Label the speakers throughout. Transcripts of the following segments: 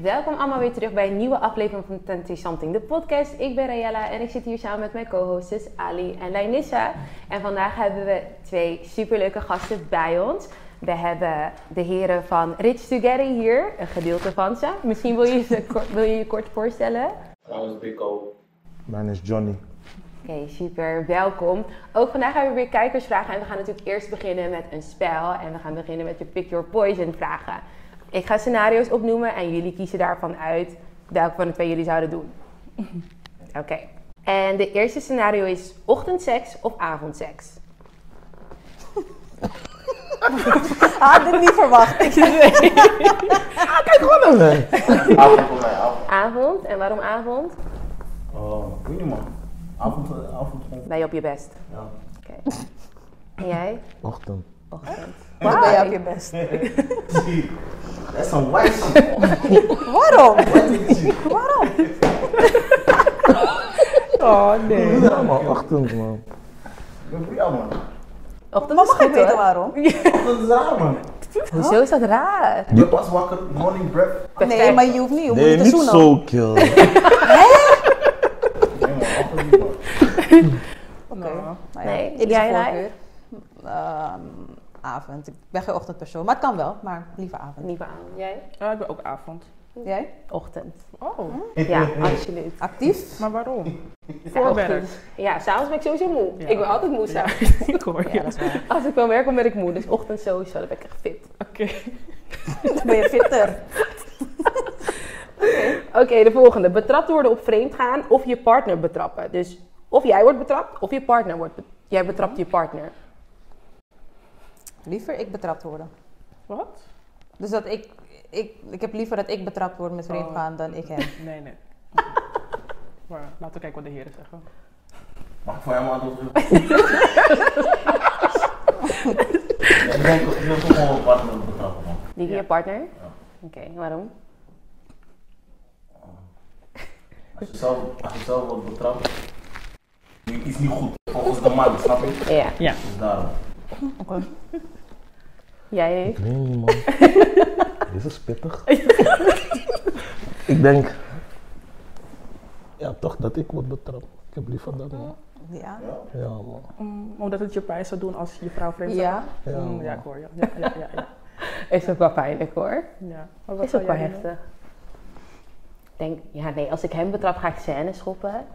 Speaker 1: Welkom allemaal weer terug bij een nieuwe aflevering van Twenty Something, de podcast. Ik ben Rayella en ik zit hier samen met mijn co-hosters Ali en Leinissa. En vandaag hebben we twee superleuke gasten bij ons. We hebben de heren van Rich Together hier, een gedeelte van ze. Misschien wil je ze ko- wil je, je kort voorstellen. Oké,
Speaker 2: Trouwens, Biko.
Speaker 3: Mijn naam is Johnny.
Speaker 1: super, welkom. Ook vandaag hebben we weer kijkersvragen en we gaan natuurlijk eerst beginnen met een spel. En we gaan beginnen met de Pick Your Poison vragen. Ik ga scenario's opnoemen en jullie kiezen daarvan uit welke van de twee jullie zouden doen. Oké. En de eerste scenario is ochtendseks of avondseks.
Speaker 4: Had dit niet verwacht.
Speaker 2: Avond voor mij, avond.
Speaker 1: Avond, en waarom avond?
Speaker 2: Oh, weet je man. Avond, eh, avond. eh,
Speaker 1: Ben je op je best.
Speaker 2: Ja.
Speaker 1: Oké. En jij?
Speaker 3: Ochtend.
Speaker 1: Ochtend.
Speaker 4: Dan ben je op je best.
Speaker 2: That's some white shit.
Speaker 4: Waarom? Waarom? Oh nee.
Speaker 3: Ja, man, ochtend, man.
Speaker 2: Dat is jou, man.
Speaker 1: Ochtend
Speaker 4: Maar
Speaker 1: is
Speaker 4: mag ik
Speaker 1: goed,
Speaker 4: weten
Speaker 1: hoor.
Speaker 4: waarom?
Speaker 2: Dat is raar, man.
Speaker 1: Hoezo is dat raar?
Speaker 2: Je pas wakker, morning breath.
Speaker 4: Nee, maar je hoeft niet. Je moet
Speaker 3: Nee,
Speaker 4: niet te
Speaker 3: niet
Speaker 4: zoenen.
Speaker 3: zo nou. kill.
Speaker 2: Nee, man, avond niet, man.
Speaker 4: Oké. Nou ja,
Speaker 1: Nee,
Speaker 4: dit is
Speaker 1: jij,
Speaker 4: een
Speaker 1: Lai?
Speaker 4: voorkeur. Ehm, avond. Ik ben geen ochtendpersoon, maar het kan wel. Maar liever avond.
Speaker 1: Niet aan. Jij?
Speaker 5: Ja, ik ben ook avond.
Speaker 4: Jij?
Speaker 1: Ochtend.
Speaker 5: Oh,
Speaker 1: Ja, absoluut.
Speaker 4: Actief?
Speaker 5: maar waarom?
Speaker 1: Ja,
Speaker 5: Voorwerk.
Speaker 1: ochtend. Ja, s'avonds ben ik sowieso moe.
Speaker 5: Ja.
Speaker 1: Ik ben altijd moe s'avonds.
Speaker 5: ik hoor je.
Speaker 4: Ja, dat is waar.
Speaker 1: Als ik wil werken, ben ik moe. Dus ochtend sowieso, dan ben ik echt fit.
Speaker 5: Oké.
Speaker 4: Dan ben je fitter.
Speaker 1: Oké, de volgende. Betrapt worden op vreemd gaan of je partner betrappen. Dus of jij wordt betrapt of je partner wordt be- Jij betrapt je partner.
Speaker 4: Liever ik betrapt worden.
Speaker 5: Wat?
Speaker 4: Dus dat ik, ik, ik heb liever dat ik betrapt word met vreemd gaan dan ik hem.
Speaker 5: Nee, nee. maar laten we kijken wat de heren zeggen.
Speaker 2: Mag ik voor jou, man, antwoord geven? Ja, Ik denk ik denk toch gewoon een partner betrappen, man.
Speaker 1: Die van
Speaker 5: Ja.
Speaker 1: je partner? Oké, waarom?
Speaker 2: Als je zelf, als je zelf wordt betrapt, nu is niet goed. Volgens de man, snap je?
Speaker 1: Ja.
Speaker 5: Ja.
Speaker 2: Dus daarom.
Speaker 1: Jij?
Speaker 3: Ik weet niet, man. Dit is pittig. ik denk... Ja, toch dat ik word betrapt. Ik heb liever dat, man.
Speaker 4: Ja.
Speaker 2: Ja.
Speaker 3: Ja, man.
Speaker 5: Mm, omdat het je pijn zou doen als je vrouw vreemd
Speaker 4: Ja.
Speaker 5: zou
Speaker 3: Ja,
Speaker 5: Mm, ja, ik
Speaker 3: man.
Speaker 5: hoor je. Ja, ja, ja. ja,
Speaker 1: Is ook wel pijnlijk hoor.
Speaker 5: ja. Maar wat
Speaker 1: Is
Speaker 5: zou
Speaker 1: ook wel
Speaker 5: jij doen?
Speaker 1: heftig. Ik Denk, ja nee, als ik hem betrap ga ik scène schoppen.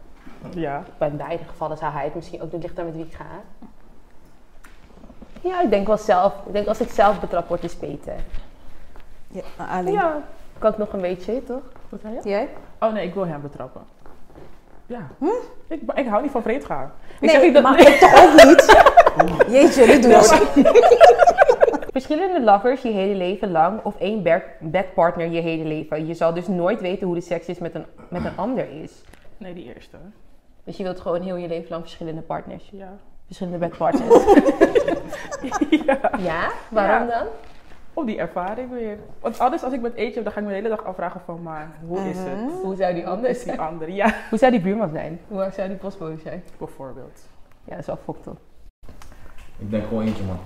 Speaker 5: Ja.
Speaker 1: Bij beide gevallen zou hij het misschien ook doen, ligt aan met wie ik ga. Ja, ik denk wel zelf. Ik denk als ik zelf betrapt word is beter.
Speaker 4: ja. Ali.
Speaker 5: Ja.
Speaker 1: Kan ik nog een beetje, toch?
Speaker 5: Wat zei je?
Speaker 4: Jij?
Speaker 5: Oh nee, ik wil hem betrappen. Ja. Ik, ik hou niet van vreemd gaan. Ik
Speaker 4: Nee,
Speaker 5: zeg niet dat...
Speaker 4: maar ik toch ook niet. Jeetje, dit doe je.
Speaker 1: Verschillende lovers je hele leven lang of één ber- bedpartner je hele leven. Je zal dus nooit weten hoe de seks is met een, met een ander is.
Speaker 5: Nee, die eerste.
Speaker 1: Dus je wilt gewoon heel je leven lang verschillende partners.
Speaker 5: Ja.
Speaker 1: Verschillende bedpartners.
Speaker 5: ja.
Speaker 1: ja? Waarom
Speaker 5: Ja.
Speaker 1: dan?
Speaker 5: Op Oh, die ervaring weer. Want anders als ik met eentje heb, dan ga ik me de hele dag afvragen van... Maar hoe is het?
Speaker 1: Hoe zou die
Speaker 5: Anders
Speaker 1: anders
Speaker 5: is die andere. Ja.
Speaker 1: Hoe zou die buurman zijn? Hoe zou die postbode zijn?
Speaker 5: Bijvoorbeeld.
Speaker 1: Ja, dat is wel fokt op.
Speaker 2: Ik denk gewoon eentje, man.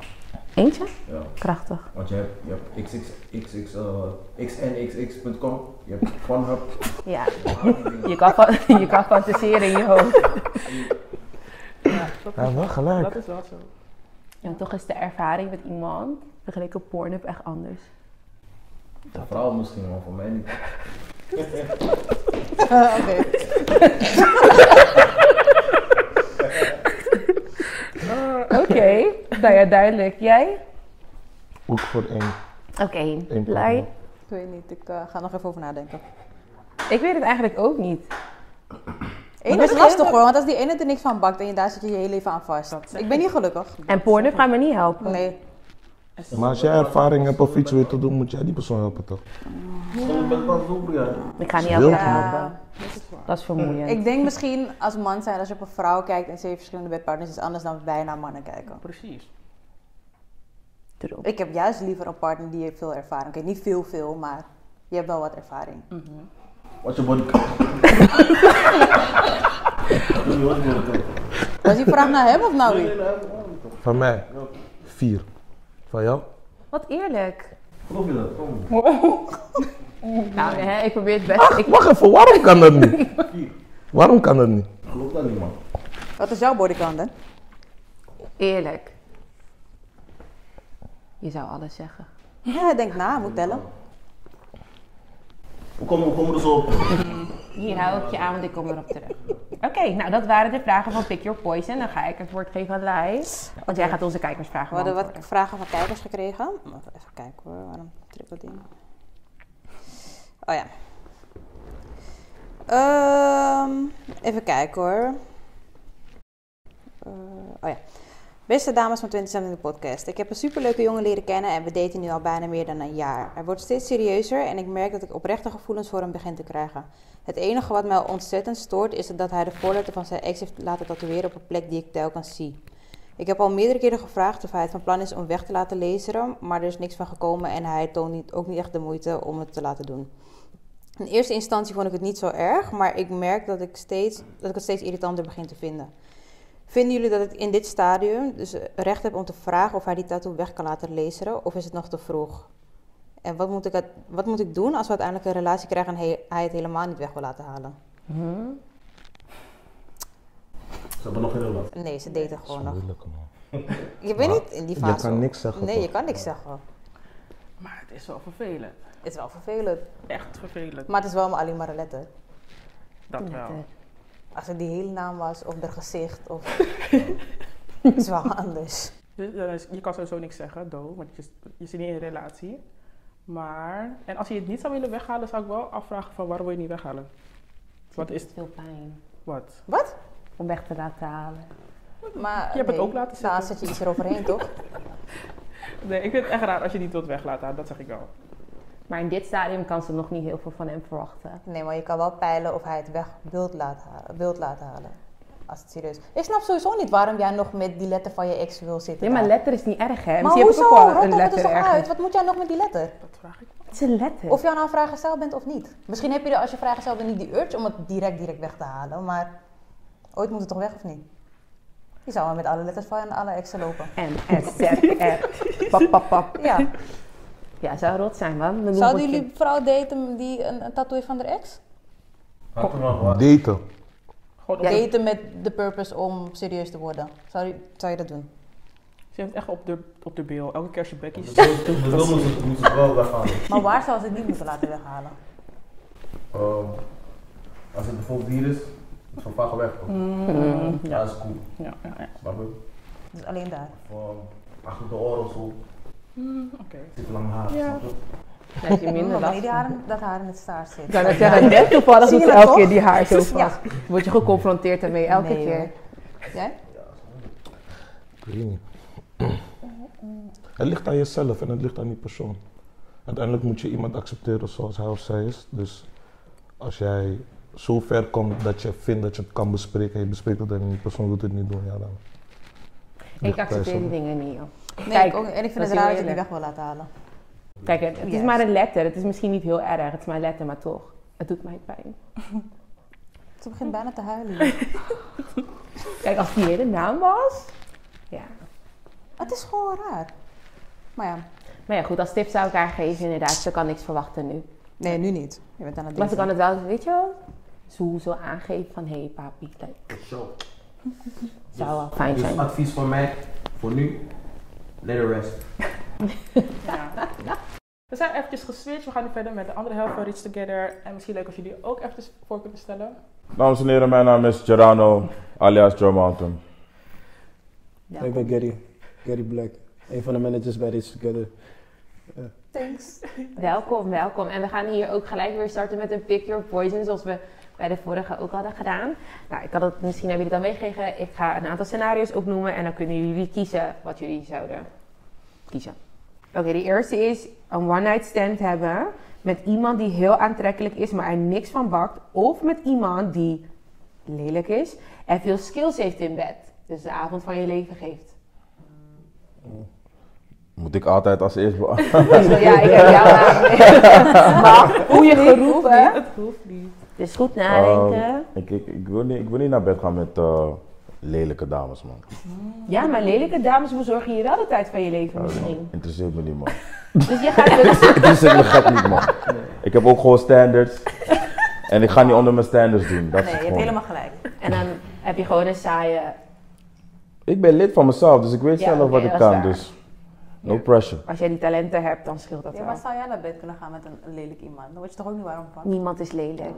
Speaker 1: Eentje?
Speaker 2: Ja.
Speaker 1: Krachtig.
Speaker 2: Want je hebt, je hebt xx, xx, eh, xnxx.com, je hebt Pornhub.
Speaker 1: Ja. Je kan, fan- je kan fantaseren in je hoofd.
Speaker 5: Ja, dat
Speaker 3: Ja, wel
Speaker 5: is, dat
Speaker 3: gelijk.
Speaker 5: is wel zo.
Speaker 1: Ja, toch is de ervaring met iemand vergeleken porno echt anders.
Speaker 2: Vooral misschien, maar voor mij niet.
Speaker 4: Eh, Oké.
Speaker 1: Oké. nou ja, duidelijk. Jij?
Speaker 3: Ook voor één.
Speaker 1: Oké.
Speaker 3: één
Speaker 1: Lai?
Speaker 3: partner.
Speaker 4: Ik weet niet, ik eh, ga nog even over nadenken.
Speaker 1: Ik weet het eigenlijk ook niet.
Speaker 4: Eén
Speaker 1: dat
Speaker 4: is
Speaker 1: is
Speaker 4: lastig hoor, want als die ene er niks van bakt en je daar zit je je hele leven aan vast. Ik ben niet gelukkig.
Speaker 1: En porno gaat me niet helpen.
Speaker 4: Nee.
Speaker 3: Maar als jij ervaring hebt of iets weet te doen, moet jij die persoon helpen, toch?
Speaker 2: Ik ben wel zo ja.
Speaker 1: Ik ga niet
Speaker 3: Wild
Speaker 1: elke
Speaker 3: man.
Speaker 1: dag
Speaker 4: Ja.
Speaker 1: helpen. Dat is vermoeiend.
Speaker 4: Ik denk misschien als man zijn, als je op een vrouw kijkt en ze heeft verschillende bedpartners, is het anders dan wij naar mannen kijken.
Speaker 5: Precies.
Speaker 1: Erop.
Speaker 4: Ik heb juist liever een partner die heeft veel ervaring. Oké, niet veel, veel, maar je hebt wel wat ervaring.
Speaker 2: Wat je body
Speaker 4: Was die vraag naar hem of naar wie?
Speaker 3: Van mij? Vier. Van jou?
Speaker 1: Wat eerlijk.
Speaker 2: Geloof je dat? Kom.
Speaker 1: Nou, hè, ik probeer het best. Ik,
Speaker 3: Wacht even, waarom kan dat niet? Waarom kan dat niet?
Speaker 2: Geloof dat niet, man.
Speaker 4: Wat is jouw bodycount dan?
Speaker 1: eerlijk. Je zou alles zeggen.
Speaker 4: Ja, denk na, moet tellen.
Speaker 2: Hoe komen, hoe komen we er zo op?
Speaker 1: Hier hou ik je aan, want ik kom erop terug. Oké, nou dat waren de vragen van Pick Your Poison. Dan ga ik het woord geven aan Lai. Want jij gaat onze kijkersvragen
Speaker 4: We hadden wat
Speaker 1: beantwoorden.
Speaker 4: vragen van kijkers gekregen. Wacht, Even kijken hoor, waarom trippelt die? Oh ja. Ehm, even kijken hoor. Eh, oh ja. Beste dames van 20 Something de podcast. Ik heb een superleuke jongen leren kennen en we daten nu al bijna meer dan een jaar. Hij wordt steeds serieuzer en ik merk dat ik oprechte gevoelens voor hem begin te krijgen. Het enige wat mij ontzettend stoort is dat hij de voorletter van zijn ex heeft laten tatoeëren op een plek die ik telkens zie. Ik heb al meerdere keren gevraagd of hij het van plan is om weg te laten lezen, maar er is niks van gekomen en hij toont niet, ook niet echt de moeite om het te laten doen. In eerste instantie vond ik het niet zo erg, maar ik merk dat ik, steeds, dat ik het steeds irritanter begin te vinden. Vinden jullie dat ik in dit stadium dus recht heb om te vragen of hij die tattoo weg kan laten lezen of is het nog te vroeg? En wat moet ik, het- wat moet ik doen als we uiteindelijk een relatie krijgen en hij, hij het helemaal niet weg wil laten halen?
Speaker 2: Ze hebben nog geen relatie.
Speaker 4: Nee, ze daten gewoon nog.
Speaker 3: Moeilijk man.
Speaker 4: Je bent niet in die
Speaker 3: je
Speaker 4: fase.
Speaker 3: kan niks zeggen,
Speaker 4: Nee,
Speaker 3: toch?
Speaker 4: je kan niks zeggen.
Speaker 5: Maar het is wel vervelend.
Speaker 4: Het is wel vervelend.
Speaker 5: Echt vervelend.
Speaker 4: Maar het is wel mijn Ali Maralette.
Speaker 5: Dat wel.
Speaker 4: Als het die hele naam was, of haar gezicht, of... het is wel anders.
Speaker 5: Dus, dan is- je kan sowieso niks zeggen, do, want je, je zit niet in een relatie. Maar, en als je het niet zou willen weghalen, zou ik wel afvragen van waarom wil je het niet weghalen? Wat is,
Speaker 1: Veel pijn.
Speaker 5: wat?
Speaker 4: Wat?
Speaker 1: Om weg te laten halen.
Speaker 4: Maar,
Speaker 5: Je hebt het ook laten zitten.
Speaker 4: Daar zet je iets eroverheen, toch?
Speaker 5: Nee, ik vind het echt raar als je niet wilt weglaten, dat zeg ik wel.
Speaker 1: Maar in dit stadium kan ze nog niet heel veel van hem verwachten.
Speaker 4: Nee, maar je kan wel peilen of hij het weg wilt laten halen. Wilt laten halen. Als het serieus Ik snap sowieso niet waarom jij nog met die letter van je ex wil zitten.
Speaker 1: Nee, maar
Speaker 4: daar.
Speaker 1: letter is niet erg, hè?
Speaker 4: Maar
Speaker 1: Misschien heb ik
Speaker 4: hoezo?
Speaker 1: ook wel
Speaker 4: Rot
Speaker 1: een
Speaker 4: toch het
Speaker 1: letter
Speaker 4: dus toch
Speaker 1: ergens.
Speaker 4: uit? Wat moet jij nog met die letter?
Speaker 5: Dat vraag ik me.
Speaker 1: Het is een letter.
Speaker 4: Of jij nou vrijgesteld bent of niet. Misschien heb je er als je vrijgesteld bent niet die urge om het direct, direct weg te halen. Maar ooit moet het toch weg of niet? Je zou maar met alle letters van en alle exen lopen.
Speaker 1: M, S, Z, F. Pap, pap, pap.
Speaker 4: Ja.
Speaker 1: Ja, zou rot zijn, man. Mijn
Speaker 4: Zouden
Speaker 1: noemeltje.
Speaker 4: jullie vrouw daten die een, een tattoo heeft van de ex?
Speaker 2: Had er nog wat?
Speaker 3: Daten.
Speaker 5: Gewoon,
Speaker 1: Ja.
Speaker 5: op,
Speaker 4: Daten met de purpose om serieus te worden. Zou je, zou je dat doen?
Speaker 5: ze heeft echt op de, op de bil. Elke keer als je Becky
Speaker 2: Dus
Speaker 5: ziet.
Speaker 2: wil moeten moet het wel weggaan.
Speaker 4: Maar waar zou ze het niet moeten laten weghalen?
Speaker 2: Ehm, als het bijvoorbeeld hier is, is van vaak weg. toch?
Speaker 1: Hmm.
Speaker 2: Ja, dat is cool.
Speaker 5: Ja, ja, ja.
Speaker 2: Snap je?
Speaker 4: Dus alleen daar.
Speaker 2: Of, ehm, achter de oren of zo,
Speaker 5: Oké.
Speaker 2: zit lang haar.
Speaker 5: Ja.
Speaker 2: Snap je?
Speaker 1: Dan heb je
Speaker 4: Maar
Speaker 1: minder
Speaker 4: wanneer
Speaker 1: last.
Speaker 4: die haren, dat haar in het staart zit.
Speaker 1: Ik zou net zeggen, net toevallig
Speaker 4: Zie
Speaker 1: doet
Speaker 4: je
Speaker 1: ze elke
Speaker 4: dat toch?
Speaker 1: keer die haar zo
Speaker 4: Ja.
Speaker 1: vast. Word je geconfronteerd ermee elke
Speaker 4: Nee,
Speaker 1: keer.
Speaker 4: Jij?
Speaker 3: Ik weet niet. Het ligt aan jezelf en het ligt aan die persoon. Uiteindelijk moet je iemand accepteren zoals hij of zij is. Dus als jij zo ver komt dat je vindt dat je het kan bespreken en je bespreekt het en die persoon doet het niet doen, ja dan.
Speaker 1: Ik
Speaker 3: ligt
Speaker 1: accepteer
Speaker 3: thuis,
Speaker 1: die
Speaker 3: hoor.
Speaker 1: dingen niet, joh.
Speaker 4: Nee,
Speaker 1: Kijk,
Speaker 4: ik ook niet. en
Speaker 1: dat
Speaker 4: ik vind
Speaker 1: is
Speaker 4: het
Speaker 1: heel
Speaker 4: raar dat je die
Speaker 1: eerlijk.
Speaker 4: weg wil laten halen.
Speaker 1: Kijk, het, het is
Speaker 4: Yes.
Speaker 1: maar een letter. Het is misschien niet heel erg. Het is maar een letter, maar toch. Het doet mij pijn.
Speaker 4: Ze begint bijna te huilen.
Speaker 1: Kijk, als die hele naam was. Ja.
Speaker 4: het is gewoon raar. Maar ja,
Speaker 1: Maar ja, goed, als tip zou ik haar geven, inderdaad. Ze kan niks verwachten nu.
Speaker 4: nee, nu niet. Je bent aan het
Speaker 1: Maar ze
Speaker 4: daten.
Speaker 1: kan het wel, weet je wel, zo, zo aangeven van hé hey, papi, dat
Speaker 2: Zo.
Speaker 1: zou wel fijn
Speaker 2: Dus
Speaker 1: zijn.
Speaker 2: advies van mij, voor nu, let it rest.
Speaker 5: Ja. We zijn eventjes geswitcht. We gaan nu verder met de andere helft van Rich Together. En misschien leuk als jullie ook even voor kunnen stellen.
Speaker 6: Dames en heren, mijn naam is Gerano, alias Joe Mountain.
Speaker 1: Ja.
Speaker 7: Ik ben Gary, Gary Black, een van de managers bij Rich Together.
Speaker 4: Thanks.
Speaker 1: Welkom, welkom. En we gaan hier ook gelijk weer starten met een Pick Your Poison, zoals we bij de vorige ook hadden gedaan. Nou, ik had het misschien hebben jullie dan meegekregen. Ik ga een aantal scenario's opnoemen en dan kunnen jullie kiezen wat jullie zouden kiezen. Oké, de eerste is een one-night stand hebben met iemand die heel aantrekkelijk is, maar er niks van bakt. Of met iemand die lelijk is en veel skills heeft in bed. Dus de avond van je leven geeft.
Speaker 6: Moet ik altijd als eerst be-
Speaker 1: Ja, ik heb jou aan. Maar hoe je geroepen.
Speaker 5: Het hoeft niet.
Speaker 1: Dus goed nadenken.
Speaker 6: Oh. ik, ik, ik, wil niet, ik wil niet naar bed gaan met eh, lelijke dames, man.
Speaker 1: Ja, maar lelijke dames bezorgen je wel de tijd van je leven misschien.
Speaker 6: Interesseert me niet, man.
Speaker 1: Dus je gaat wel...
Speaker 6: Interesseert me gek niet, man. Ik heb ook gewoon standards. En ik ga niet onder mijn standards doen.
Speaker 4: Nee,
Speaker 6: Dat
Speaker 4: je
Speaker 6: is het
Speaker 4: hebt
Speaker 6: gewoon.
Speaker 4: helemaal gelijk.
Speaker 8: En dan heb je gewoon een saaie...
Speaker 6: Ik ben lid van mezelf, dus ik weet
Speaker 8: Ja,
Speaker 6: zelf wat
Speaker 8: oké,
Speaker 6: ik
Speaker 8: dat is
Speaker 6: kan.
Speaker 8: waar.
Speaker 6: Dus no pressure.
Speaker 1: Als jij die talenten hebt, dan scheelt dat
Speaker 4: Ja,
Speaker 1: wel.
Speaker 4: maar zou jij naar bed kunnen gaan met een een lelijk iemand? Dan word je toch ook niet warm van?
Speaker 8: Niemand is lelijk.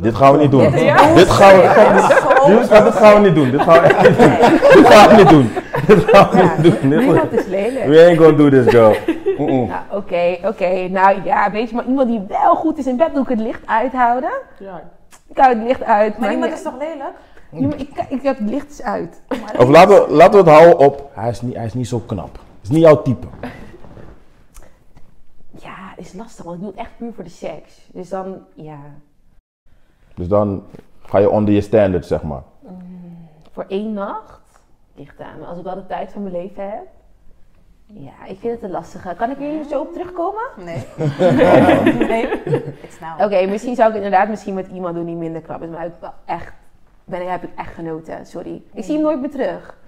Speaker 6: Dit gaan we niet doen.
Speaker 4: Dit is
Speaker 6: Dit gaan we,
Speaker 4: Zo-
Speaker 6: Jongens, dit gaan we niet doen. Dit gaan we echt niet doen. Dit gaan we niet doen. Dit gaan we niet doen. Dit gaan
Speaker 1: Niemand
Speaker 6: we-
Speaker 1: is lelijk.
Speaker 6: We ain't gonna do this, girl. Mm-mm.
Speaker 1: Nou, Oké, oké. Nou ja, weet je, maar iemand die wel goed is in bed, doe ik het licht uithouden.
Speaker 5: Ja,
Speaker 1: Ik hou het licht uit.
Speaker 4: Maar iemand
Speaker 1: nee.
Speaker 4: is toch lelijk?
Speaker 1: Ja, maar ik, ik heb het licht eens uit.
Speaker 6: Of laten we, laten we het houden op. Hij is niet, hij is niet zo knap. Het is niet jouw type.
Speaker 1: Ja, het is lastig, want ik doe het echt puur voor de seks. Dus dan, ja.
Speaker 6: Dus dan ga je onder je standard, zeg maar.
Speaker 1: Voor één nacht ligt aan. Maar Als ik wel de tijd van mijn leven heb. Ja, ik vind het een lastige. Kan ik hier zo op terugkomen?
Speaker 4: Nee. nee. It's now.
Speaker 1: Oké, misschien zou ik het inderdaad misschien met iemand doen die minder knap is. Maar ik heb wel echt, ben, heb ik echt genoten. Sorry. Ik zie hem nooit meer terug.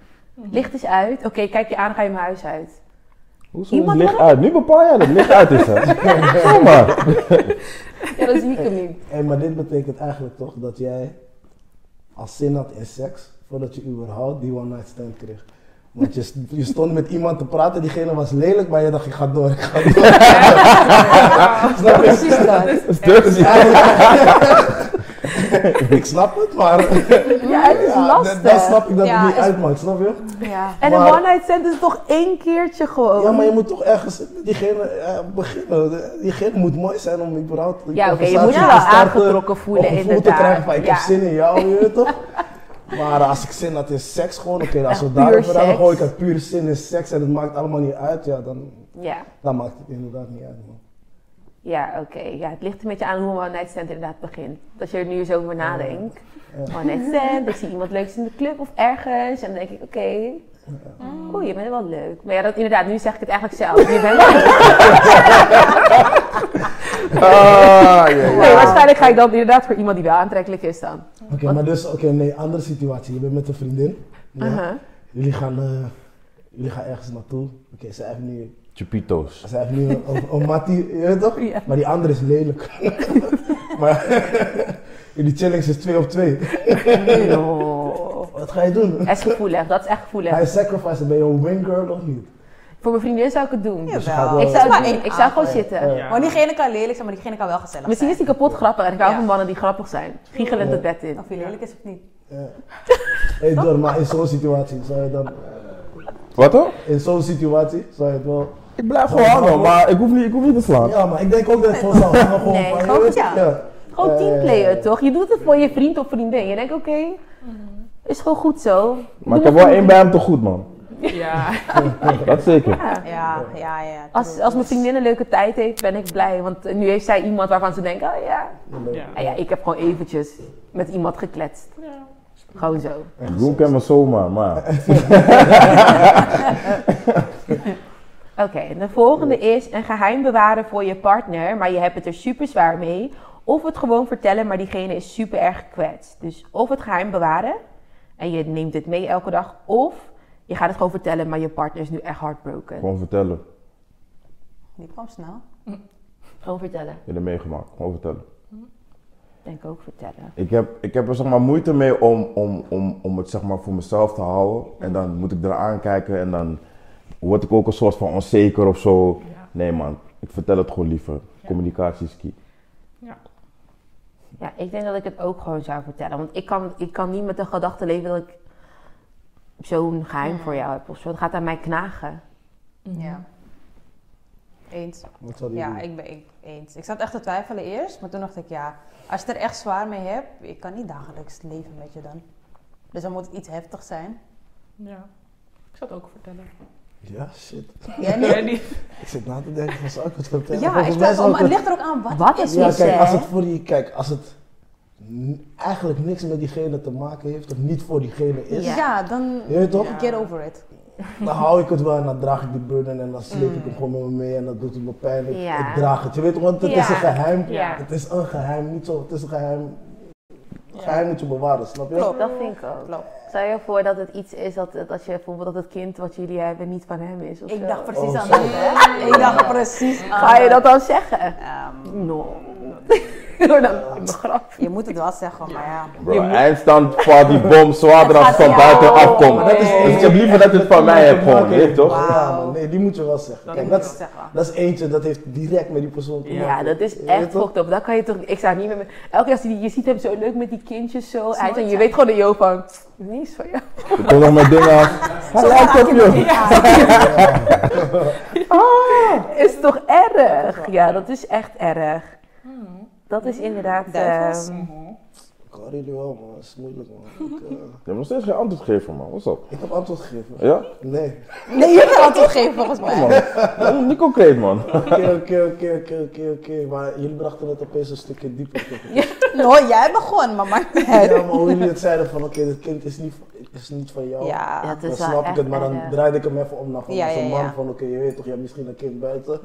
Speaker 1: Licht is uit. Oké, kijk je aan, ga je mijn huis uit.
Speaker 6: Hoezo is
Speaker 1: Iemand
Speaker 6: licht uit? Nu bepaal jij dat het licht uit is, hè? Kom maar.
Speaker 1: Ja, dat zie ik hem nu.
Speaker 7: Hey, maar dit betekent eigenlijk toch dat jij al zin had in seks voordat je überhaupt die one night stand kreeg. Want je, st- je stond met iemand te praten, diegene was lelijk, maar je dacht ik ga door, ik ga door. Snap je?
Speaker 1: Precies dat.
Speaker 6: Dus,
Speaker 7: Ik snap het, maar
Speaker 1: Ja, het is
Speaker 7: Ja,
Speaker 1: lastig.
Speaker 7: dan, dan snap ik dat
Speaker 4: Ja,
Speaker 7: het niet
Speaker 4: is-
Speaker 7: uitmaakt, snap je?
Speaker 4: Ja.
Speaker 1: En
Speaker 7: Maar-
Speaker 1: een one-night stand is toch één keertje gewoon.
Speaker 7: Ja, maar je moet toch ergens met diegene eh, beginnen. Diegene moet mooi zijn om überhaupt een
Speaker 1: Ja, oké, je
Speaker 7: conversatie
Speaker 1: moet je
Speaker 7: te
Speaker 1: wel
Speaker 7: starten,
Speaker 1: aangetrokken voelen,
Speaker 7: of een gevoel
Speaker 1: inderdaad.
Speaker 7: te krijgen van ik
Speaker 1: Ja.
Speaker 7: heb zin in jou, je weet toch? Maar als ik zin had in seks gewoon, oké, als we
Speaker 1: Echt
Speaker 7: daarover
Speaker 1: puur
Speaker 7: hebben, dan
Speaker 1: seks.
Speaker 7: gooi ik het puur zin in seks en het maakt allemaal niet uit, ja, dan,
Speaker 1: Ja,
Speaker 7: dan maakt het inderdaad niet uit, man.
Speaker 1: ja oké. Ja, het ligt een beetje aan hoe een one-night stand inderdaad begint. Als je er nu eens over nadenkt. One-night stand, ik zie iemand leuks in de club of ergens. En dan denk ik, oké.
Speaker 4: Oh.
Speaker 1: Oeh, je bent wel leuk. Maar ja, dat, inderdaad, nu zeg ik het eigenlijk zelf. Je bent wel leuk.
Speaker 6: ah, ja, ja.
Speaker 1: Nee, waarschijnlijk ga ik dan inderdaad voor iemand die wel aantrekkelijk is dan.
Speaker 7: Oké, maar dus, oké, nee, andere situatie. Je bent met een vriendin, ja.
Speaker 1: Uh-huh.
Speaker 7: jullie, gaan, eh, jullie gaan ergens naartoe. Oké, zij heeft nu
Speaker 6: Chupito's.
Speaker 7: Zij heeft nu een, een, een mattie, je weet toch? Maar die andere is lelijk. maar in die challenge is 2 op 2.
Speaker 1: Oh.
Speaker 7: Wat ga je doen?
Speaker 1: Dat is gevoelig, dat is echt gevoelig.
Speaker 7: Ga je sacrificen? Ben je een win girl of niet?
Speaker 1: Voor mijn vriendin zou ik het doen.
Speaker 4: Jawel.
Speaker 1: Ik
Speaker 7: gaat wel.
Speaker 4: Het is
Speaker 1: zou,
Speaker 4: maar
Speaker 1: het doen.
Speaker 4: één
Speaker 1: ik zou gewoon
Speaker 4: avond.
Speaker 1: zitten.
Speaker 7: Ah, Ja.
Speaker 5: ja.
Speaker 4: Maar diegene kan lelijk zijn, maar diegene kan wel gezellig
Speaker 1: Misschien is
Speaker 4: zijn.
Speaker 1: die kapot grappig en ik hou
Speaker 4: Ja.
Speaker 1: van mannen die grappig zijn. Giechelend het bed in.
Speaker 4: Of hij lelijk is of niet.
Speaker 7: Ja. Hey, door, maar in zo'n situatie zou je dan.
Speaker 6: Wat hoor?
Speaker 7: In zo'n situatie zou je het wel.
Speaker 6: Ik blijf gewoon hangen, maar ik hoef niet, ik hoef niet te slaan.
Speaker 7: Ja, maar ik denk ook dat het gewoon zou hangen. Gewoon
Speaker 4: Nee,
Speaker 7: van, je
Speaker 4: gewoon
Speaker 7: weet-
Speaker 4: ja.
Speaker 6: Eh.
Speaker 1: Gewoon teamplayer, toch? Je doet het voor je vriend of vriendin. Je denkt, oké, is gewoon goed zo.
Speaker 6: Maar ik heb wel één bij hem te goed, man.
Speaker 5: ja.
Speaker 6: Dat zeker.
Speaker 4: Ja, ja, ja.
Speaker 1: Als, als mijn vriendin een leuke tijd heeft, ben ik blij. Want nu heeft zij iemand waarvan ze denkt, oh ja.
Speaker 5: ja.
Speaker 1: Nou ja, ik heb gewoon eventjes met iemand gekletst. Gewoon zo.
Speaker 6: Groen kan me zomaar, maar.
Speaker 1: Oké, de volgende is een geheim bewaren voor je partner, maar je hebt het er super zwaar mee. Of het gewoon vertellen, maar diegene is super erg gekwetst. Dus of het geheim bewaren en je neemt het mee elke dag. Of je gaat het gewoon vertellen, maar je partner is nu echt heartbroken.
Speaker 6: Gewoon vertellen.
Speaker 4: Die kwam snel.
Speaker 1: Gewoon vertellen.
Speaker 6: Jullie meegemaakt. Gewoon vertellen.
Speaker 1: Denk ook vertellen.
Speaker 6: Ik heb, ik heb er zeg maar moeite mee om, om, om, om het zeg maar voor mezelf te houden. En dan moet ik eraan kijken en dan word ik ook een soort van onzeker of zo. Nee man, ik vertel het gewoon liever. Communicatie is key.
Speaker 1: Ja, ik denk dat ik het ook gewoon zou vertellen. Want ik kan, ik kan niet met de gedachte leven dat ik zo'n geheim voor jou heb of zo. Het gaat aan mij knagen.
Speaker 4: Ja. Eens.
Speaker 7: Wat zou die
Speaker 4: Ja,
Speaker 7: doen?
Speaker 4: ik ben ik- eens. Ik zat echt te twijfelen eerst, maar toen dacht ik ja, als je het er echt zwaar mee hebt, ik kan niet dagelijks leven met je dan. Dus dan moet het iets heftig zijn.
Speaker 5: ja. Ik zou het ook vertellen.
Speaker 7: Ja, shit.
Speaker 4: Jij
Speaker 5: Nee,
Speaker 4: niet?
Speaker 5: niet.
Speaker 7: Ik zit na te denken van zou ik het vertellen?
Speaker 4: Ja,
Speaker 7: Volgens
Speaker 4: ik
Speaker 7: mij
Speaker 4: dacht, oh,
Speaker 7: zou ik
Speaker 4: maar het ligt er ook aan wat,
Speaker 1: Wat
Speaker 4: is
Speaker 1: is
Speaker 7: Ja,
Speaker 1: mis,
Speaker 7: kijk,
Speaker 1: hè?
Speaker 7: als het voor die, kijk, als het n- eigenlijk niks met diegene te maken heeft of niet voor diegene is,
Speaker 4: Ja, dan
Speaker 7: Je weet toch?
Speaker 4: get over it.
Speaker 7: dan hou ik het wel en dan draag ik die burden en dan sleep
Speaker 4: Mm.
Speaker 7: ik hem gewoon met me mee en dat doet het me pijn. Ik,
Speaker 1: Ja.
Speaker 7: ik draag het, je weet, want het
Speaker 1: Ja.
Speaker 7: is een geheim.
Speaker 1: Ja.
Speaker 7: Het is een geheim, niet zo, het is een geheim. Geheim moet je bewaren, snap je?
Speaker 4: Klopt.
Speaker 1: Dat vind ik ook.
Speaker 4: Klopt.
Speaker 1: Stel je voor dat het iets is dat, dat je bijvoorbeeld dat het kind wat jullie hebben niet van hem is. Of zo.
Speaker 9: Ik dacht precies
Speaker 7: Oh,
Speaker 9: aan dat, hè?
Speaker 4: Ik dacht precies
Speaker 1: Ga je dat dan zeggen?
Speaker 4: Ehm,
Speaker 1: No. Door dat een grap.
Speaker 4: je moet het wel zeggen, maar ja.
Speaker 6: Bro, eindstand valt die bom zwaarder als het van buiten afkomt.
Speaker 7: dat is-
Speaker 6: Dus ik heb liever dat het van mij hebt gewoon, je weet toch?
Speaker 7: Ja,
Speaker 4: Wauw.
Speaker 7: man, nee, die moet je wel zeggen. Kijk, dat,
Speaker 4: moet je
Speaker 7: is-
Speaker 4: wel zeggen.
Speaker 7: dat is eentje, dat heeft direct met die persoon te
Speaker 5: Ja.
Speaker 7: maken.
Speaker 1: Ja, dat is
Speaker 7: Je
Speaker 1: echt
Speaker 7: weet toch?
Speaker 1: fucked up. Dat kan je toch... Ik sta niet meer met... Elke keer als je die je ziet hem zo leuk met die kindjes zo. Hij
Speaker 4: nooit
Speaker 1: en je
Speaker 4: zijn.
Speaker 1: weet gewoon de Jo van... Die is van jou.
Speaker 6: Ik kom nog met dingen af. Hij lijkt op je.
Speaker 1: Is toch erg? Hmm. Ja, dat is echt erg. Dat is inderdaad...
Speaker 4: Duivels?
Speaker 1: ehm,
Speaker 7: Ik hoor jullie wel, man. Dat is moeilijk, man. Ik, eh,
Speaker 6: Je hebt nog steeds geen antwoord gegeven, man. What's up?
Speaker 7: ik heb antwoord gegeven.
Speaker 6: Ja?
Speaker 7: Nee.
Speaker 4: Nee, je hebt antwoord gegeven volgens
Speaker 6: Oh,
Speaker 4: mij.
Speaker 6: man. Dat is niet concreet, man.
Speaker 7: Oké, oké, oké, oké, oké, oké. Maar jullie brachten het opeens een stukje dieper. toch?
Speaker 4: Nou, jij begon, maar maakt niet uit.
Speaker 7: Ja, maar hoe jullie het zeiden van, oké, dit kind is niet, is niet van jou.
Speaker 1: ja,
Speaker 4: Ja.
Speaker 1: het
Speaker 7: Dan
Speaker 1: is wel
Speaker 7: snap ik
Speaker 1: echt eh,
Speaker 7: het, maar dan
Speaker 1: erg.
Speaker 7: draaide ik hem even om naar van
Speaker 4: Ja,
Speaker 7: als een
Speaker 4: ja,
Speaker 7: man
Speaker 4: ja.
Speaker 7: van, oké, je weet toch, je hebt misschien een kind buiten.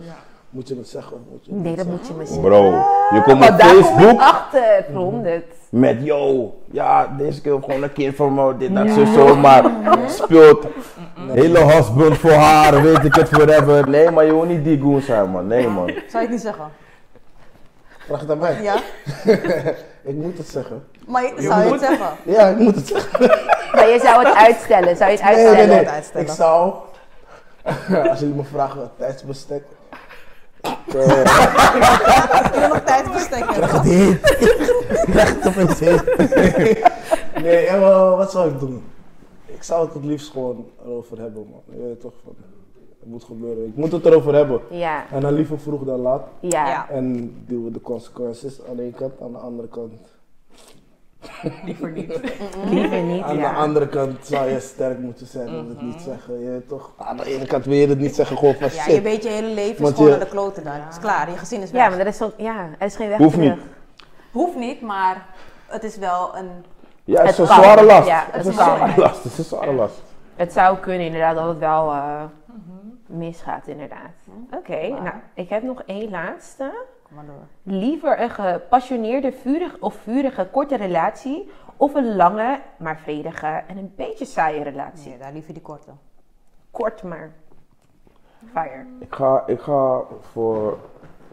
Speaker 7: Moet je het zeggen of moet je het
Speaker 1: Nee,
Speaker 7: niet
Speaker 1: dat
Speaker 7: zeggen?
Speaker 1: moet je me zeggen.
Speaker 6: Bro, je komt op
Speaker 1: Maar daar kom ik
Speaker 6: Facebook
Speaker 1: achter, Rondet.
Speaker 6: met yo, ja, deze keer gewoon een kind van me, dit, dat, zo, zo, maar speelt hele husband voor haar, weet ik het forever. Nee, maar je wil niet die goon zijn, man. Nee, man.
Speaker 4: Zou je het niet zeggen?
Speaker 7: Vraag het aan mij.
Speaker 4: Ja?
Speaker 7: Ik moet het zeggen.
Speaker 4: Maar je- zou je het zeggen?
Speaker 7: Ja, ik moet het zeggen.
Speaker 1: Maar je zou het uitstellen. Zou je het
Speaker 7: Nee, nee,
Speaker 1: uitstellen?
Speaker 7: nee.
Speaker 4: uitstellen.
Speaker 7: Ik zou, als jullie me vragen, het tijdsbestek.
Speaker 4: Ik wil nog tijd versteken.
Speaker 7: Echt heet. Echt opeens heet. Nee, en, eh, wat zou ik doen? Ik zou het het liefst gewoon erover hebben, man. Je weet toch, van, het moet gebeuren. Ik moet het erover hebben.
Speaker 1: Ja,
Speaker 7: En dan liever vroeg dan laat.
Speaker 1: ja.
Speaker 4: Ja.
Speaker 7: En duwen we de consequenties aan de ene kant, aan de andere kant.
Speaker 1: Liever niet,
Speaker 7: Aan de
Speaker 1: ja.
Speaker 7: andere kant zou je sterk moeten zijn om het niet te zeggen. Je weet toch? Aan de ene kant wil je het niet zeggen, gewoon van
Speaker 4: Mhm. Ja, je
Speaker 7: shit.
Speaker 4: weet je hele leven is
Speaker 7: Want
Speaker 4: gewoon
Speaker 7: je-
Speaker 4: aan de kloten dan. Het is klaar, je gezin is
Speaker 1: Ja,
Speaker 4: weg.
Speaker 1: maar er is, zo, ja, er is geen weg
Speaker 6: Hoeft
Speaker 1: terug.
Speaker 6: niet.
Speaker 4: Hoeft niet, maar het is wel een...
Speaker 6: Ja, het is
Speaker 1: Het
Speaker 6: een
Speaker 1: kan.
Speaker 6: zware last.
Speaker 1: Ja,
Speaker 6: het is een
Speaker 1: het kan.
Speaker 6: zware last. Het is een zware last.
Speaker 1: Het zou kunnen inderdaad dat het wel eh, misgaat inderdaad. Oké, nou, ik heb nog één laatste.
Speaker 4: Kom maar door.
Speaker 1: Liever een gepassioneerde vurig of vurige korte relatie of een lange maar vredige en een beetje saaie relatie.
Speaker 4: Zie je, daar liever die korte.
Speaker 1: Kort maar fire.
Speaker 6: Ik ga, ik ga voor,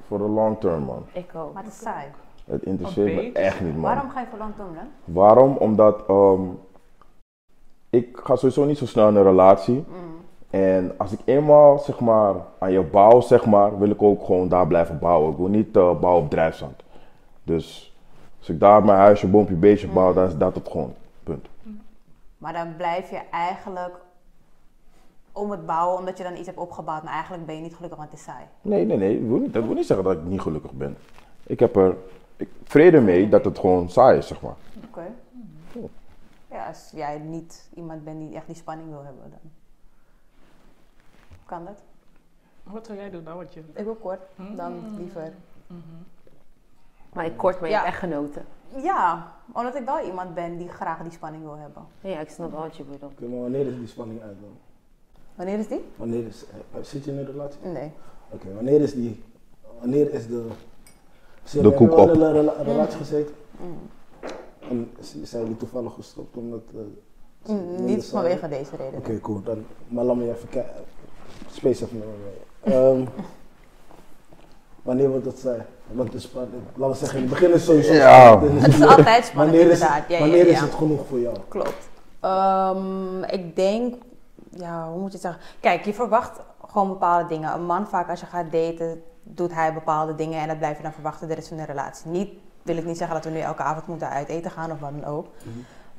Speaker 6: voor de long term, man.
Speaker 1: Ik ook.
Speaker 4: Maar het is saai.
Speaker 6: Het interesseert me
Speaker 5: Oké.
Speaker 6: echt niet, man.
Speaker 4: Waarom ga je voor lang doen dan?
Speaker 6: Waarom? Omdat ehm, ik ga sowieso niet zo snel in een relatie. En als ik eenmaal zeg maar, aan je bouw, zeg maar, wil ik ook gewoon daar blijven bouwen. Ik wil niet eh, bouwen op drijfzand. Dus als ik daar mijn huisje, boompje, beestje bouw, dan is dat het gewoon. Punt.
Speaker 4: Maar dan blijf je eigenlijk om het bouwen, omdat je dan iets hebt opgebouwd. Maar eigenlijk ben je niet gelukkig, want het is saai.
Speaker 6: Nee, nee, nee. ik wil niet- Dat wil niet zeggen dat ik niet gelukkig ben. Ik heb er ik, vrede mee dat het gewoon saai is, zeg maar.
Speaker 4: Oké. Ja, als jij niet iemand bent die echt die spanning wil hebben, dan kan dat.
Speaker 5: Wat zou jij doen nou? Wat je...
Speaker 4: Ik wil kort,
Speaker 7: Hm?
Speaker 4: dan liever.
Speaker 1: Maar ik kort maar je
Speaker 4: Ja.
Speaker 1: hebt echt genoten.
Speaker 4: Ja, omdat ik wel iemand ben die graag die spanning wil hebben.
Speaker 1: Ja, ik snap wel wat je bedoelt.
Speaker 7: Oké, maar wanneer is die spanning uit dan?
Speaker 4: Wanneer is die?
Speaker 7: Wanneer is, eh, zit je in een relatie?
Speaker 4: Nee.
Speaker 7: Oké, wanneer is die, wanneer is de... Ze
Speaker 6: De koek op.
Speaker 7: in een rela- relatie gezeten. En z- zijn jullie toevallig gestopt omdat... eh, ze
Speaker 4: Mm,
Speaker 7: minder
Speaker 4: niet
Speaker 7: saai-
Speaker 4: vanwege deze reden.
Speaker 7: Oké, cool. Dan, maar laat me even kijken. Space of me. Ehm, wanneer wordt dat zij? Want de spanning, laten we zeggen, in het begin is sowieso.
Speaker 6: Ja.
Speaker 7: spanning.
Speaker 4: Het is altijd spannend,
Speaker 7: wanneer is,
Speaker 4: inderdaad. Ja, ja,
Speaker 7: wanneer
Speaker 4: ja.
Speaker 7: is het genoeg voor jou?
Speaker 4: Klopt. Ehm, ik denk, ja, hoe moet je het zeggen? Kijk, je verwacht gewoon bepaalde dingen. Een man vaak als je gaat daten, doet hij bepaalde dingen en dat blijf je dan verwachten de rest van de relatie. Niet, wil ik niet zeggen dat we nu elke avond moeten uit eten gaan of wat dan ook.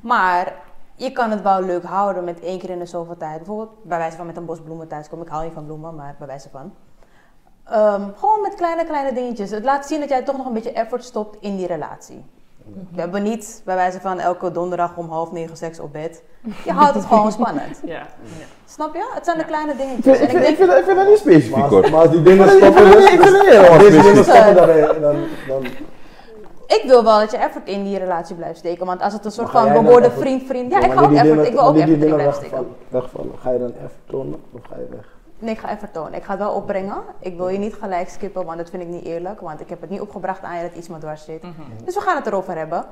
Speaker 4: Maar je kan het wel leuk houden met één keer in de zoveel tijd. Bijvoorbeeld bij wijze van met een bos bloemen thuis komen. Ik hou niet van bloemen, maar bij wijze van. Ehm, gewoon met kleine, kleine dingetjes. Het laat zien dat jij toch nog een beetje effort stopt in die relatie. We hebben niet bij wijze van elke donderdag om half negen seks op bed. Je houdt het gewoon spannend.
Speaker 5: Ja.
Speaker 4: Snap je? Het zijn de kleine
Speaker 6: Ik
Speaker 4: dingetjes.
Speaker 6: vind,
Speaker 4: Dus En
Speaker 6: ik
Speaker 4: ik
Speaker 6: vind,
Speaker 4: denk,
Speaker 6: dat- ik vind dat niet specifiek,
Speaker 7: Maar
Speaker 6: hoor.
Speaker 7: als,
Speaker 6: Ik
Speaker 7: maar als die dingen
Speaker 6: vind
Speaker 7: stoppen,
Speaker 6: dat niet- ik
Speaker 7: dus,
Speaker 6: vind dat niet helemaal
Speaker 7: deze dingen
Speaker 6: specifiek.
Speaker 7: stoppen, dan, dan, dan
Speaker 4: ik wil wel dat je effort in die relatie blijft steken. Want als het een soort
Speaker 7: Maar ga
Speaker 4: van,
Speaker 7: jij
Speaker 4: we
Speaker 7: dan
Speaker 4: worden
Speaker 7: effort-
Speaker 4: vriend, vriend. Ja, ik
Speaker 7: wanneer
Speaker 4: ga ook
Speaker 7: die
Speaker 4: effort.
Speaker 7: dingen-
Speaker 4: Ik wil ook
Speaker 7: wanneer
Speaker 4: effort
Speaker 7: die
Speaker 4: in
Speaker 7: dingen
Speaker 4: blijven
Speaker 7: wegvallen-
Speaker 4: steken.
Speaker 7: wegvallen. Ga je dan even tonen of ga je weg?
Speaker 4: Nee, ik ga effort tonen. Ik ga het wel opbrengen. Ik wil je niet gelijk skippen, want dat vind ik niet eerlijk. Want ik heb het niet opgebracht aan je dat iets maar dwars zit. Dus we gaan het erover hebben.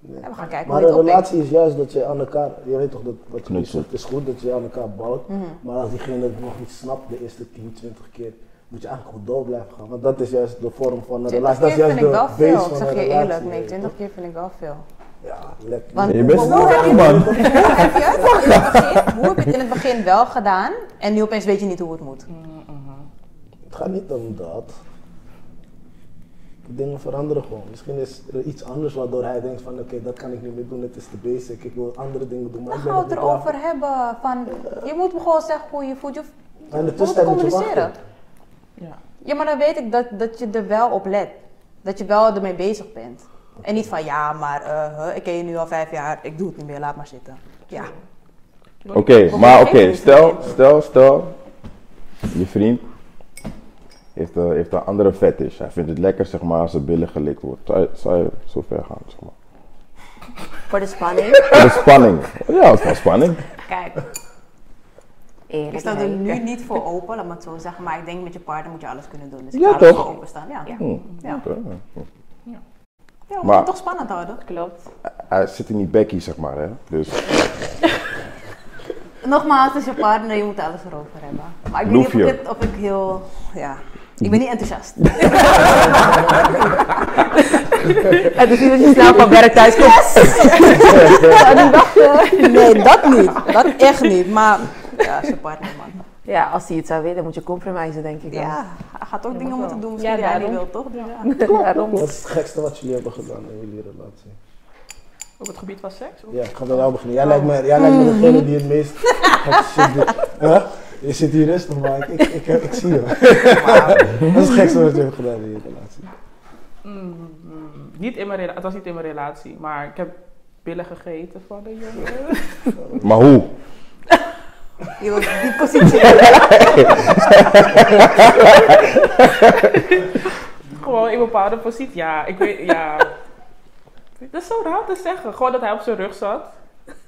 Speaker 7: Nee.
Speaker 4: En we gaan kijken
Speaker 7: Mhm. Maar
Speaker 4: hoe
Speaker 7: een
Speaker 4: dit oppikt.
Speaker 7: relatie is juist dat je aan elkaar, je weet toch dat wat je nu
Speaker 6: Knutselt.
Speaker 7: zegt, het is goed dat je aan elkaar bouwt.
Speaker 4: Mhm.
Speaker 7: Maar als diegene het nog niet snapt de eerste 10, 20 keer, moet je eigenlijk gewoon door blijven gaan. Want dat is juist de vorm van een
Speaker 4: 20
Speaker 7: relatie.
Speaker 4: keer
Speaker 7: dat is juist
Speaker 4: vind ik
Speaker 7: de
Speaker 4: wel
Speaker 7: base
Speaker 4: veel. Ik
Speaker 7: van
Speaker 4: zeg
Speaker 7: een
Speaker 4: je
Speaker 7: relatie,
Speaker 4: eerlijk, nee,
Speaker 7: weet je
Speaker 4: 20 keer vind ik wel veel.
Speaker 7: toch? Ja, lekker.
Speaker 4: Want
Speaker 6: Je bent
Speaker 4: hoe, hoe heb
Speaker 6: snel,
Speaker 4: je,
Speaker 6: man.
Speaker 4: hoe heb je het in het begin, hoe heb je het in het begin wel gedaan en nu opeens weet je niet hoe het moet?
Speaker 9: Mm.
Speaker 7: Het gaat niet om dat. Dingen veranderen gewoon. Misschien is er iets anders waardoor hij denkt van oké, dat kan ik niet meer doen, dit is de basic, ik wil andere dingen doen. Maar
Speaker 4: Dan
Speaker 7: ik
Speaker 4: gaan we
Speaker 7: ben
Speaker 4: het
Speaker 7: er niet klaar voor.
Speaker 4: erover hebben. Van, je moet me gewoon zeggen hoe je voelt. Je hoeft-
Speaker 7: Maar in de
Speaker 4: je moet
Speaker 7: tussentijd moet je
Speaker 4: communiceren.
Speaker 7: wachten.
Speaker 5: Ja.
Speaker 4: Ja, maar dan weet ik dat, dat je er wel op let. Dat je wel ermee bezig bent. En niet van ja, maar eh, huh, ik ken je nu al vijf jaar, ik doe het niet meer, laat maar zitten. Ja.
Speaker 6: Oké, maar oké, stel, stel, stel, je vriend heeft, eh, heeft een andere fetish. Hij vindt het lekker, zeg maar, als zijn billen gelikt wordt. Zou je, zou je zo ver gaan, zeg maar?
Speaker 9: Voor de spanning.
Speaker 6: Voor de spanning. Ja, dat is wel spanning.
Speaker 4: Kijk,
Speaker 9: Eerlijk.
Speaker 4: ik sta er nu niet voor open, laat me het zo zeggen. Maar ik denk met je partner moet je alles kunnen doen. Dus ik
Speaker 6: Ja,
Speaker 4: ga er
Speaker 6: toch?
Speaker 4: voor openstaan. Ja, ja.
Speaker 6: Hm.
Speaker 4: Ja.
Speaker 6: Oké.
Speaker 4: we moeten
Speaker 6: Maar-
Speaker 4: het toch spannend houden.
Speaker 9: Klopt.
Speaker 6: Hij zit in die bekkie, zeg maar, hè? Dus
Speaker 4: Nogmaals, het is je partner, je moet alles erover hebben. Maar ik weet niet
Speaker 6: Loef
Speaker 4: of ik,
Speaker 6: je.
Speaker 4: het- of ik heel... Ja, ik ben niet enthousiast.
Speaker 9: Het is niet dat je dus snel van werk thuis komt.
Speaker 4: Nee, dat niet. Dat echt niet. Maar ja, zijn partner, man.
Speaker 9: Ja, als hij het zou willen, dan moet je compromisen, denk ik. dan.
Speaker 4: Ja, hij gaat ook dingen moeten doen misschien
Speaker 1: Ja,
Speaker 4: die hij niet
Speaker 1: daarom.
Speaker 4: wil, toch? Dus ja.
Speaker 9: Daarom.
Speaker 7: Wat is het gekste wat jullie hebben gedaan in jullie relatie?
Speaker 5: Op het gebied van seks? Of?
Speaker 7: Ja, ik ga bij jou beginnen. Jij
Speaker 9: Oh.
Speaker 7: lijkt me, jij lijkt me
Speaker 9: Mm.
Speaker 7: degene die het meest gek shit doet. Huh? Je zit hier rustig, maar ik, ik, ik, ik zie je. Dat is het gekste wat je hebt gedaan in je relatie.
Speaker 5: Mm, niet in mijn rela- het was niet in mijn relatie, maar ik heb pillen gegeten van de jongen.
Speaker 6: maar hoe?
Speaker 4: Je wil die positie.
Speaker 5: Gewoon in bepaalde positie. Ja, ik weet, ja. Dat is zo raar te zeggen. Gewoon dat hij op zijn rug zat,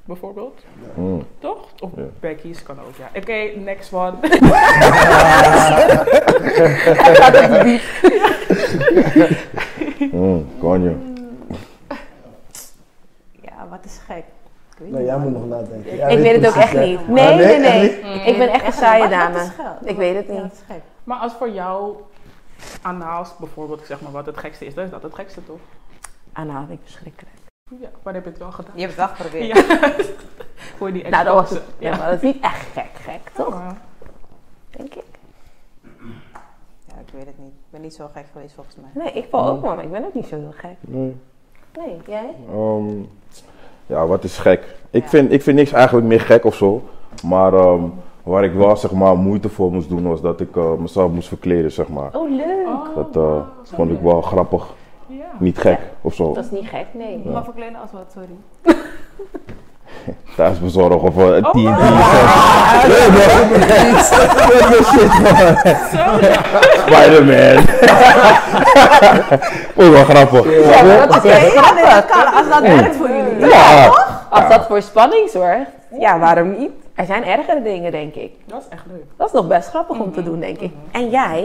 Speaker 5: bijvoorbeeld.
Speaker 6: Hm.
Speaker 5: Toch? Of
Speaker 6: Ja.
Speaker 5: Becky's kan ook, ja. Oké, next one.
Speaker 6: Hm, konjo.
Speaker 4: Ja, wat is gek. Ik weet
Speaker 7: Nou,
Speaker 4: niet,
Speaker 7: jij
Speaker 4: man.
Speaker 7: moet nog nadenken.
Speaker 9: Ik weet het ook echt niet. Nee, nee, nee. Ik ben echt een saaie
Speaker 4: Wat- wat is
Speaker 9: dame.
Speaker 4: gek?
Speaker 9: Ik weet het
Speaker 4: Ja,
Speaker 9: niet.
Speaker 4: dat is gek.
Speaker 5: Maar als voor jou anaals bijvoorbeeld, ik zeg maar wat het gekste is, dan is dat het gekste toch?
Speaker 9: Ah, nou, vind ik verschrikkelijk.
Speaker 5: Ja, maar heb je het wel gedaan?
Speaker 4: Je hebt het wel geprobeerd.
Speaker 5: Ja. Voor die
Speaker 9: Nou, dat was
Speaker 5: exposen.
Speaker 9: het. Ja, maar dat is niet echt gek, gek,
Speaker 1: Oh.
Speaker 9: toch?
Speaker 5: Ja.
Speaker 9: Denk ik.
Speaker 4: Ja, ik weet het niet. Ik ben niet zo gek geweest volgens mij.
Speaker 9: Nee, ik val ook wel, maar ik ben ook niet zo heel gek.
Speaker 6: Nee.
Speaker 9: Nee, jij?
Speaker 6: Ehm, ja, wat is gek? Ik, vind, ik vind niks eigenlijk meer gek of zo. Maar ehm, waar ik wel zeg maar, moeite voor moest doen was dat ik eh, mezelf moest verkleden. Zeg maar.
Speaker 9: Oh, leuk.
Speaker 5: Oh,
Speaker 6: Dat eh,
Speaker 5: wauw, zo
Speaker 6: vond ik
Speaker 5: leuk.
Speaker 6: wel grappig.
Speaker 5: Ja.
Speaker 6: Niet gek of zo.
Speaker 9: Dat is niet gek, nee.
Speaker 4: Maar verkleden als wat, sorry.
Speaker 6: Thuis bezorgen of eh, TNT. Spider-Man. Vond ik wel grappig.
Speaker 9: Ja, maar dat is echt
Speaker 4: Ja, nee,
Speaker 9: grappig.
Speaker 4: dat kan. Als
Speaker 6: Oh.
Speaker 4: dat werkt voor jullie.
Speaker 6: Ja.
Speaker 9: Als dat voor spanning zorgt, ja, waarom niet? Er zijn ergere dingen, denk ik.
Speaker 5: Dat is echt leuk.
Speaker 9: Dat is nog best grappig om te doen, denk ik. Mhm. En jij?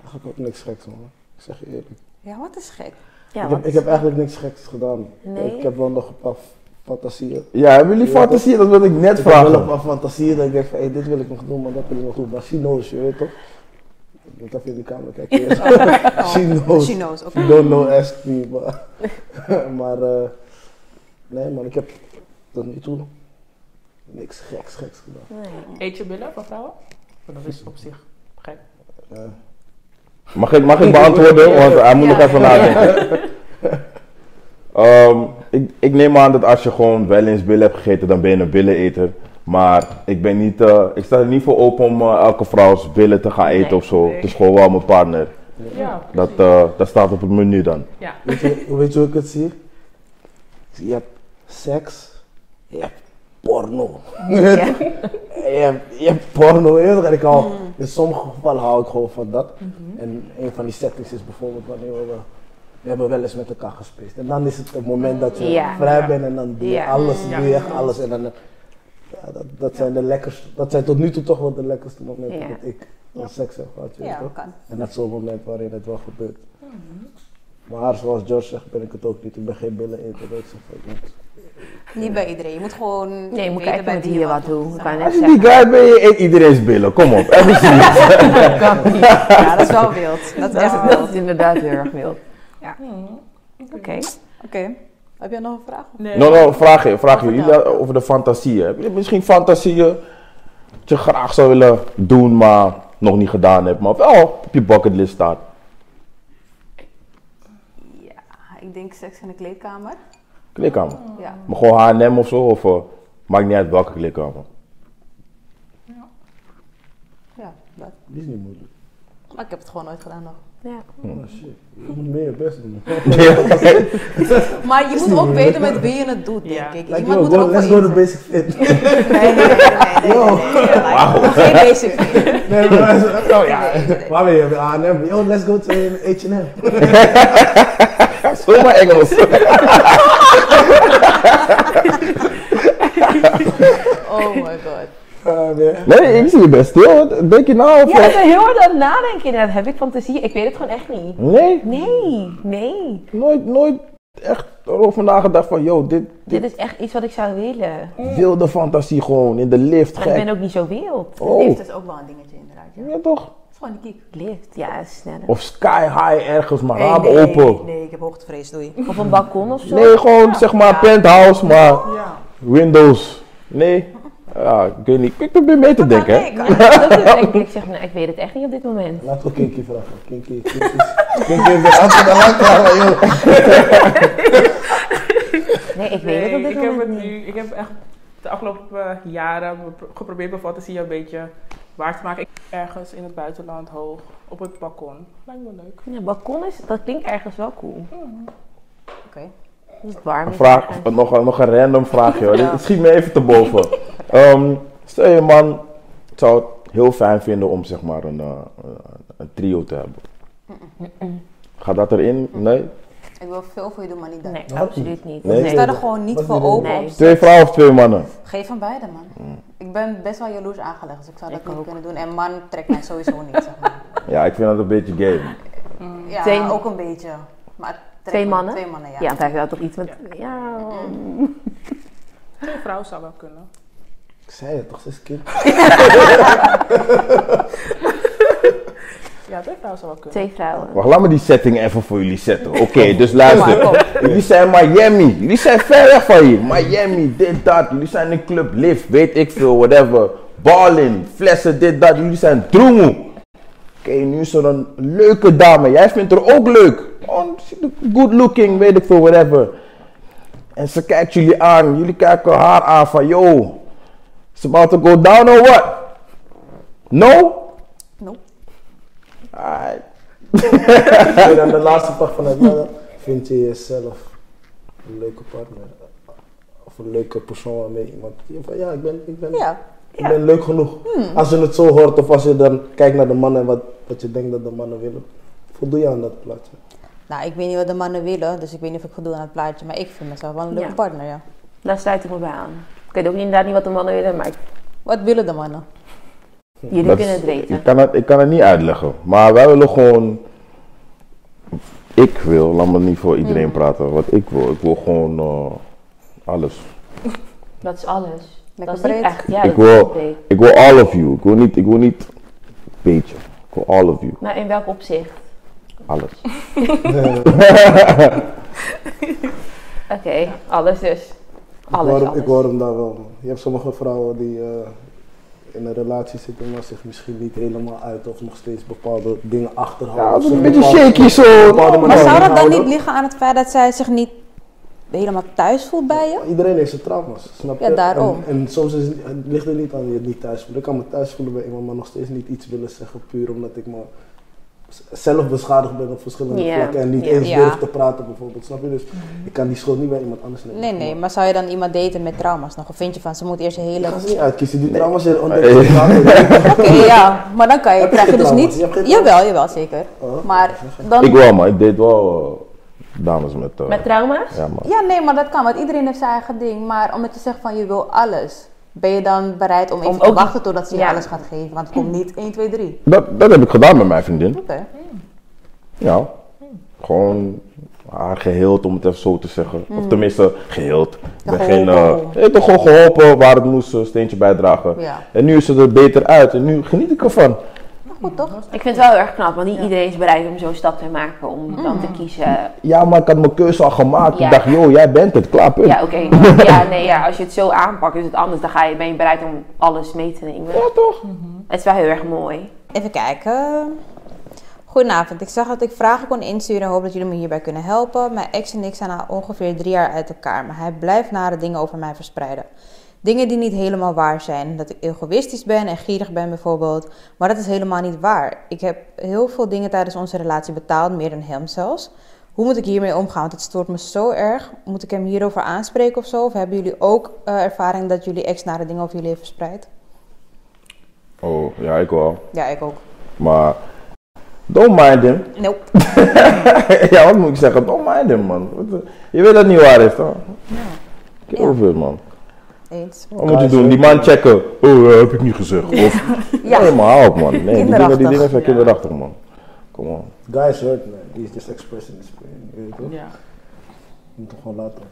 Speaker 7: Eigenlijk ook niks geks, man. Ik zeg je eerlijk.
Speaker 4: Ja, wat is gek.
Speaker 9: Ja,
Speaker 7: Ik heb,
Speaker 9: want
Speaker 7: ik heb eigenlijk niks geks gedaan.
Speaker 9: Nee?
Speaker 7: Ik heb wel nog een paar fantasieën.
Speaker 6: ja, hebben jullie fantasie? Dat wilde ik net
Speaker 7: Ik heb wel een
Speaker 6: vragen.
Speaker 7: paar fantasieën dat ik denk van, hé, dit wil ik nog doen, maar dat wil ik nog doen. Maar chino's, je weet toch? Ik moet even in de kamer kijken. Chino's.
Speaker 4: Oh, Chino's, oké.
Speaker 7: You don't know, ask me. Maar, maar eh, nee man, ik heb tot nu toe niks geks geks gedaan.
Speaker 5: Eet je billen van vrouwen? Maar Dat is op zich gek.
Speaker 6: Mag ik, mag ik beantwoorden? Want hij moet nog even nadenken. Ehm, ik, ik neem aan dat als je gewoon wel eens billen hebt gegeten, dan ben je een billeneter. Maar ik, ben niet, eh, ik sta er niet voor open om eh, elke vrouw's billen te gaan eten
Speaker 9: Nee,
Speaker 6: of zo.
Speaker 5: nee.
Speaker 6: Het is gewoon wel mijn partner.
Speaker 5: Ja, precies.
Speaker 6: Dat, eh, dat staat op het menu dan.
Speaker 5: ja.
Speaker 7: Weet je, hoe weet je hoe ik het zie? Je hebt seks, je hebt porno. je, hebt, je hebt porno, je weet toch? En ik hou,
Speaker 9: Mm.
Speaker 7: in sommige gevallen hou ik gewoon van dat.
Speaker 9: Mhm.
Speaker 7: En een van die settings is bijvoorbeeld wanneer we, we hebben wel eens met elkaar gespeeld. En dan is het het moment dat je
Speaker 9: Ja.
Speaker 7: vrij bent en dan doe je
Speaker 9: Ja.
Speaker 7: alles,
Speaker 5: Ja.
Speaker 7: doe je echt alles. En dan, eh, ja, dat, dat zijn de lekkerste, dat zijn tot nu toe toch wel de lekkerste momenten
Speaker 9: Ja.
Speaker 7: dat ik van seks heb gehad. je weet
Speaker 4: Ja,
Speaker 7: toch?
Speaker 4: kan.
Speaker 7: En dat is zo'n moment waarin het wel gebeurt. Maar zoals George zegt, ben ik het ook niet. Ik ben geen billen eten. Dat is echt niet.
Speaker 4: Niet bij iedereen. Je moet gewoon.
Speaker 9: Nee, je moet kijken
Speaker 4: bij
Speaker 9: met
Speaker 4: wie
Speaker 9: wie je wat doet. Ik
Speaker 4: doet.
Speaker 9: kan net
Speaker 6: Als je die
Speaker 9: zeggen.
Speaker 6: guy bent, je eet iedereen's billen. Kom op, even zien.
Speaker 4: Ja, dat is wel wild. Dat is
Speaker 9: Dat
Speaker 4: echt
Speaker 9: is, dat
Speaker 4: wild.
Speaker 9: is inderdaad heel erg wild. Ja. Mhm. Oké.
Speaker 4: Oké. Heb jij nog een vraag?
Speaker 5: Nee.
Speaker 6: No, no, vraag je, vraag je. Jullie over de fantasieën. Heb je misschien fantasieën dat je graag zou willen doen, maar nog niet gedaan hebt, maar wel op je bucketlist staat?
Speaker 4: Ja, ik denk seks in de kleedkamer.
Speaker 6: Klik aan.
Speaker 4: Ja.
Speaker 6: Maar gewoon H&M of zo, of eh, maakt niet uit welke klik aan.
Speaker 4: Ja, dat.
Speaker 7: Die is niet moeilijk.
Speaker 4: Maar ik heb het gewoon nooit gedaan nog.
Speaker 7: Oh shit. Je moet meer je best doen.
Speaker 4: Maar je moet ook weten met wie je het doet, denk
Speaker 5: Ja.
Speaker 4: ik.
Speaker 7: Like,
Speaker 4: Iemand
Speaker 7: yo,
Speaker 4: moet er
Speaker 7: go,
Speaker 4: ook
Speaker 7: let's
Speaker 4: voor
Speaker 7: go to
Speaker 4: in-
Speaker 7: basic fit.
Speaker 4: Nee, nee, nee, nee, nee, nee, nee. Like, Geen basic fit.
Speaker 7: nee, maar,
Speaker 6: Oh ja,
Speaker 7: waar ben je? Bij H&M. Yo, let's go to H&M.
Speaker 6: zomaar Engels.
Speaker 4: Oh my god.
Speaker 7: Ah, nee.
Speaker 6: Nee, ik zie je best stil. Denk je nou of...
Speaker 9: Ja, ik ben heel hard aan het nadenken inderdaad. Heb ik fantasie? Ik weet het gewoon echt niet.
Speaker 6: Nee,
Speaker 9: Nee, nee.
Speaker 6: nooit, nooit echt erover nagedacht van, yo, dit,
Speaker 9: Dit
Speaker 6: dit
Speaker 9: is echt iets wat ik zou willen.
Speaker 6: wilde fantasie gewoon in de lift,
Speaker 9: Maar ik ben
Speaker 6: gek.
Speaker 9: ook niet zo wild.
Speaker 6: Oh,
Speaker 4: Lift is ook wel een dingetje inderdaad. Ja.
Speaker 6: ja toch?
Speaker 4: Het is gewoon een kiek.
Speaker 9: Lift, ja, sneller.
Speaker 6: Of sky high ergens, maar raam
Speaker 4: nee,
Speaker 6: open.
Speaker 4: Nee, ik heb hoogtevrees, doei.
Speaker 9: Of een balkon of zo.
Speaker 6: Nee, gewoon zeg maar penthouse, maar
Speaker 5: Ja.
Speaker 6: windows. Nee, ja, ik weet niet. Ik probeer mee te denken. hè.
Speaker 4: Nee, kan niet.
Speaker 9: Dat is echt- ik zeg, nou, ik weet het echt niet op dit moment.
Speaker 7: Laat ook Kinky vragen. Kinky, Kinky. Kinky heeft een antwoord al lang klaar, joh.
Speaker 9: Nee, ik weet
Speaker 5: Nee,
Speaker 9: het op dit
Speaker 5: ik heb
Speaker 9: moment
Speaker 5: het
Speaker 9: niet.
Speaker 5: nu, ik heb echt de afgelopen eh, jaren be- geprobeerd mijn fantasie een beetje waar te maken. Ik- Ergens in het buitenland, hoog, op het balkon. Lijkt me leuk.
Speaker 9: Ja, balkon is, dat klinkt ergens wel cool.
Speaker 4: Oké.
Speaker 9: Dat is warm.
Speaker 6: Een
Speaker 9: is
Speaker 6: vraag,
Speaker 9: ergens.
Speaker 6: nog, een- nog een random vraagje hoor.
Speaker 4: Ja.
Speaker 6: Dit Schiet me even te boven. Ehm, stel je man zou het heel fijn vinden om zeg maar een, eh, een trio te hebben. Gaat dat erin? Nee?
Speaker 4: Ik wil veel voor je doen, maar niet dat.
Speaker 9: Nee,
Speaker 7: Waarom
Speaker 9: absoluut niet.
Speaker 6: Nee?
Speaker 4: Ik sta er gewoon niet
Speaker 7: Wat
Speaker 4: voor
Speaker 7: wil je? Mm.
Speaker 4: open.
Speaker 9: Nee.
Speaker 4: om te-
Speaker 6: Twee vrouwen of twee mannen?
Speaker 4: Geef van beide, man. Ik ben best wel jaloers aangelegd, dus ik zou dat
Speaker 9: Ik
Speaker 4: niet
Speaker 9: ook.
Speaker 4: kunnen doen. En man trekt mij sowieso niet, zeg maar.
Speaker 6: Ja, ik vind dat een beetje game.
Speaker 4: Ja,
Speaker 9: Twee-
Speaker 4: ook een beetje. Maar het trekt
Speaker 9: Twee
Speaker 4: me-
Speaker 9: mannen?
Speaker 4: Twee mannen, ja.
Speaker 9: Ja, want hij heeft wel toch iets met... Ja,
Speaker 5: Twee vrouwen zou wel kunnen.
Speaker 7: Ik zei het toch, ze is kind.
Speaker 5: Ja, twee vrouwen zou wel kunnen.
Speaker 9: twee vrouwen.
Speaker 6: Wacht, laat me die setting even voor jullie zetten. Oké, dus luister. Jullie zijn Miami. Jullie zijn ver weg van hier. Miami, dit, dat. Jullie zijn in club, lift, weet ik veel, whatever. Ballen, flessen, dit, dat. Jullie zijn droemoe. Oké, nu is er een leuke dame. Jij vindt haar ook leuk. Oh, she look good looking, weet ik veel, whatever. En ze kijkt jullie aan. Jullie kijken haar aan van, yo. It's about to go down or what? No?
Speaker 4: Nope.
Speaker 6: Alright.
Speaker 7: En dan de laatste dag van het jaar vind je jezelf een leuke partner. Of een leuke persoon waarmee iemand... je van, Ja, ik ben, ik ben,
Speaker 4: Ja.
Speaker 7: ik ben leuk genoeg.
Speaker 9: Hmm.
Speaker 7: Als je het zo hoort of als je dan kijkt naar de mannen en wat, wat je denkt dat de mannen willen. Voldoe je aan dat plaatje.
Speaker 4: Nou, ik weet niet wat de mannen willen, dus ik weet niet of ik voldoen aan het plaatje. Maar ik vind mezelf wel een leuke
Speaker 9: Ja.
Speaker 4: partner, ja.
Speaker 9: Daar sluit ik me bij aan. Ik weet ook inderdaad niet wat de mannen willen, maar ik-
Speaker 4: Wat willen de
Speaker 7: Oh,
Speaker 4: mannen?
Speaker 9: jullie
Speaker 6: Dat
Speaker 9: kunnen
Speaker 6: is-
Speaker 9: het weten.
Speaker 6: Ik kan het, ik kan het niet uitleggen. Maar wij willen gewoon. Ik wil, laat me niet voor iedereen praten. Wat ik wil. Ik wil gewoon eh, alles.
Speaker 9: Dat is alles. dat
Speaker 4: Lekker
Speaker 9: is niet
Speaker 4: breed.
Speaker 9: echt... Ja,
Speaker 6: ik,
Speaker 9: dat is
Speaker 6: wil,
Speaker 9: niet breed.
Speaker 6: ik wil all of you. Ik wil niet, ik wil niet een beetje. Ik wil all of you.
Speaker 9: Maar in welk opzicht?
Speaker 6: Alles.
Speaker 9: Oké, alles dus. Alles,
Speaker 7: ik, hoor,
Speaker 9: alles.
Speaker 7: ik hoor hem daar wel. man. Je hebt sommige vrouwen die eh, in een relatie zitten, maar zich misschien niet helemaal uit of nog steeds bepaalde dingen achterhouden.
Speaker 6: Ja, dat is
Speaker 7: Ze
Speaker 6: een beetje
Speaker 7: bepaalde-
Speaker 6: shaky zo.
Speaker 7: bepaalde manier
Speaker 4: Maar zou dat dan
Speaker 7: houden.
Speaker 4: niet liggen aan het feit dat zij zich niet helemaal thuis voelt bij je?
Speaker 7: Iedereen heeft zijn trauma's, snap je?
Speaker 4: Ja, daarom.
Speaker 7: En, en soms is, het- het ligt het niet aan je het niet thuis voelen. Ik kan me thuis voelen bij iemand, maar nog steeds niet iets willen zeggen, puur omdat ik me z- zelf beschadigd ben op verschillende
Speaker 9: Ja,
Speaker 7: vlakken en niet
Speaker 9: ja.
Speaker 7: eens
Speaker 4: Ja. Mhm.
Speaker 7: durf te praten bijvoorbeeld, snap je? Dus ik kan die schuld niet bij iemand anders nemen.
Speaker 4: Nee, nee, maar zou je dan iemand daten met trauma's nog? Of vind je van, ze moet eerst een
Speaker 7: Je
Speaker 4: hele...
Speaker 7: kan ze niet uitkiezen, die trauma's zijn
Speaker 6: Nee.
Speaker 7: ontdekt.
Speaker 4: Oké, ja, maar dan kan je,
Speaker 7: Heb je
Speaker 4: krijg je
Speaker 7: geen
Speaker 4: dus
Speaker 7: trauma's?
Speaker 4: niet...
Speaker 7: Je hebt geen
Speaker 4: Jawel, jawel, zeker.
Speaker 7: Oh.
Speaker 4: Maar dan...
Speaker 6: Ik wel, maar ik deed wel eh, dames met. eh,
Speaker 9: Met trauma's?
Speaker 6: ja, maar.
Speaker 4: Ja, nee, maar dat kan, want iedereen heeft zijn eigen ding. Maar omdat je zegt van, je wil alles... Ben je dan bereid om even te
Speaker 9: ook-
Speaker 4: wachten totdat ze je
Speaker 9: Ja.
Speaker 4: alles gaat geven? Want het komt niet 1, 2, 3.
Speaker 6: Dat, dat heb ik gedaan met mijn vriendin.
Speaker 4: Oké.
Speaker 6: Ja. gewoon haar geheeld, om het even zo te zeggen. Of tenminste, geheeld. Ik ben geen,
Speaker 4: geholpen.
Speaker 6: eh, ik ben gewoon geholpen waar het moest, een steentje bijdragen.
Speaker 4: Ja.
Speaker 6: En nu is het er beter uit en nu geniet ik ervan.
Speaker 4: Goed toch?
Speaker 9: Ik vind het wel heel erg knap, want niet iedereen is bereid om zo'n stap te maken om
Speaker 4: Mm.
Speaker 9: dan te kiezen.
Speaker 6: Ja, maar ik had mijn keuze al gemaakt.
Speaker 9: Ja.
Speaker 6: Ik dacht, joh, jij bent het, klaar, punt.
Speaker 9: Ja, oké. maar- Ja, nee, ja, als je het zo aanpakt, is het anders. Dan ga je, ben je bereid om alles mee te nemen.
Speaker 6: Ja, toch?
Speaker 9: Het is wel heel erg mooi.
Speaker 4: Even kijken. Goedenavond. Ik zag dat ik vragen kon insturen en hoop dat jullie me hierbij kunnen helpen. Mijn ex en ik zijn al ongeveer drie jaar uit elkaar, maar hij blijft nare dingen over mij verspreiden. Dingen die niet helemaal waar zijn. Dat ik egoïstisch ben en gierig ben bijvoorbeeld. Maar dat is helemaal niet waar. Ik heb heel veel dingen tijdens onze relatie betaald, meer dan hem zelfs. Hoe moet ik hiermee omgaan? Want het stoort me zo erg. Moet ik hem hierover aanspreken of zo? Of hebben jullie ook eh, ervaring dat jullie ex nare dingen over jullie heeft verspreid?
Speaker 6: Oh, ja, ik wel.
Speaker 4: Ja, ik ook.
Speaker 6: Maar, don't mind him.
Speaker 4: Nope.
Speaker 6: ja, wat moet ik zeggen? Don't mind him, man. Wat de- Je weet dat het niet waar is, toch? Ja.
Speaker 4: Ja.
Speaker 6: over, man.
Speaker 4: Eens.
Speaker 6: Wat moet je doen? Oh, Die man checken. Oh, dat heb ik niet gezegd. Of, Nee, maar hou op, man. Nee, die dingen, die dingen zijn kinderachtig, man. Kom on.
Speaker 7: Guys hurt man, he's just expressing his pain. Je weet toch?
Speaker 5: Ja.
Speaker 7: Je moet hem gewoon laten.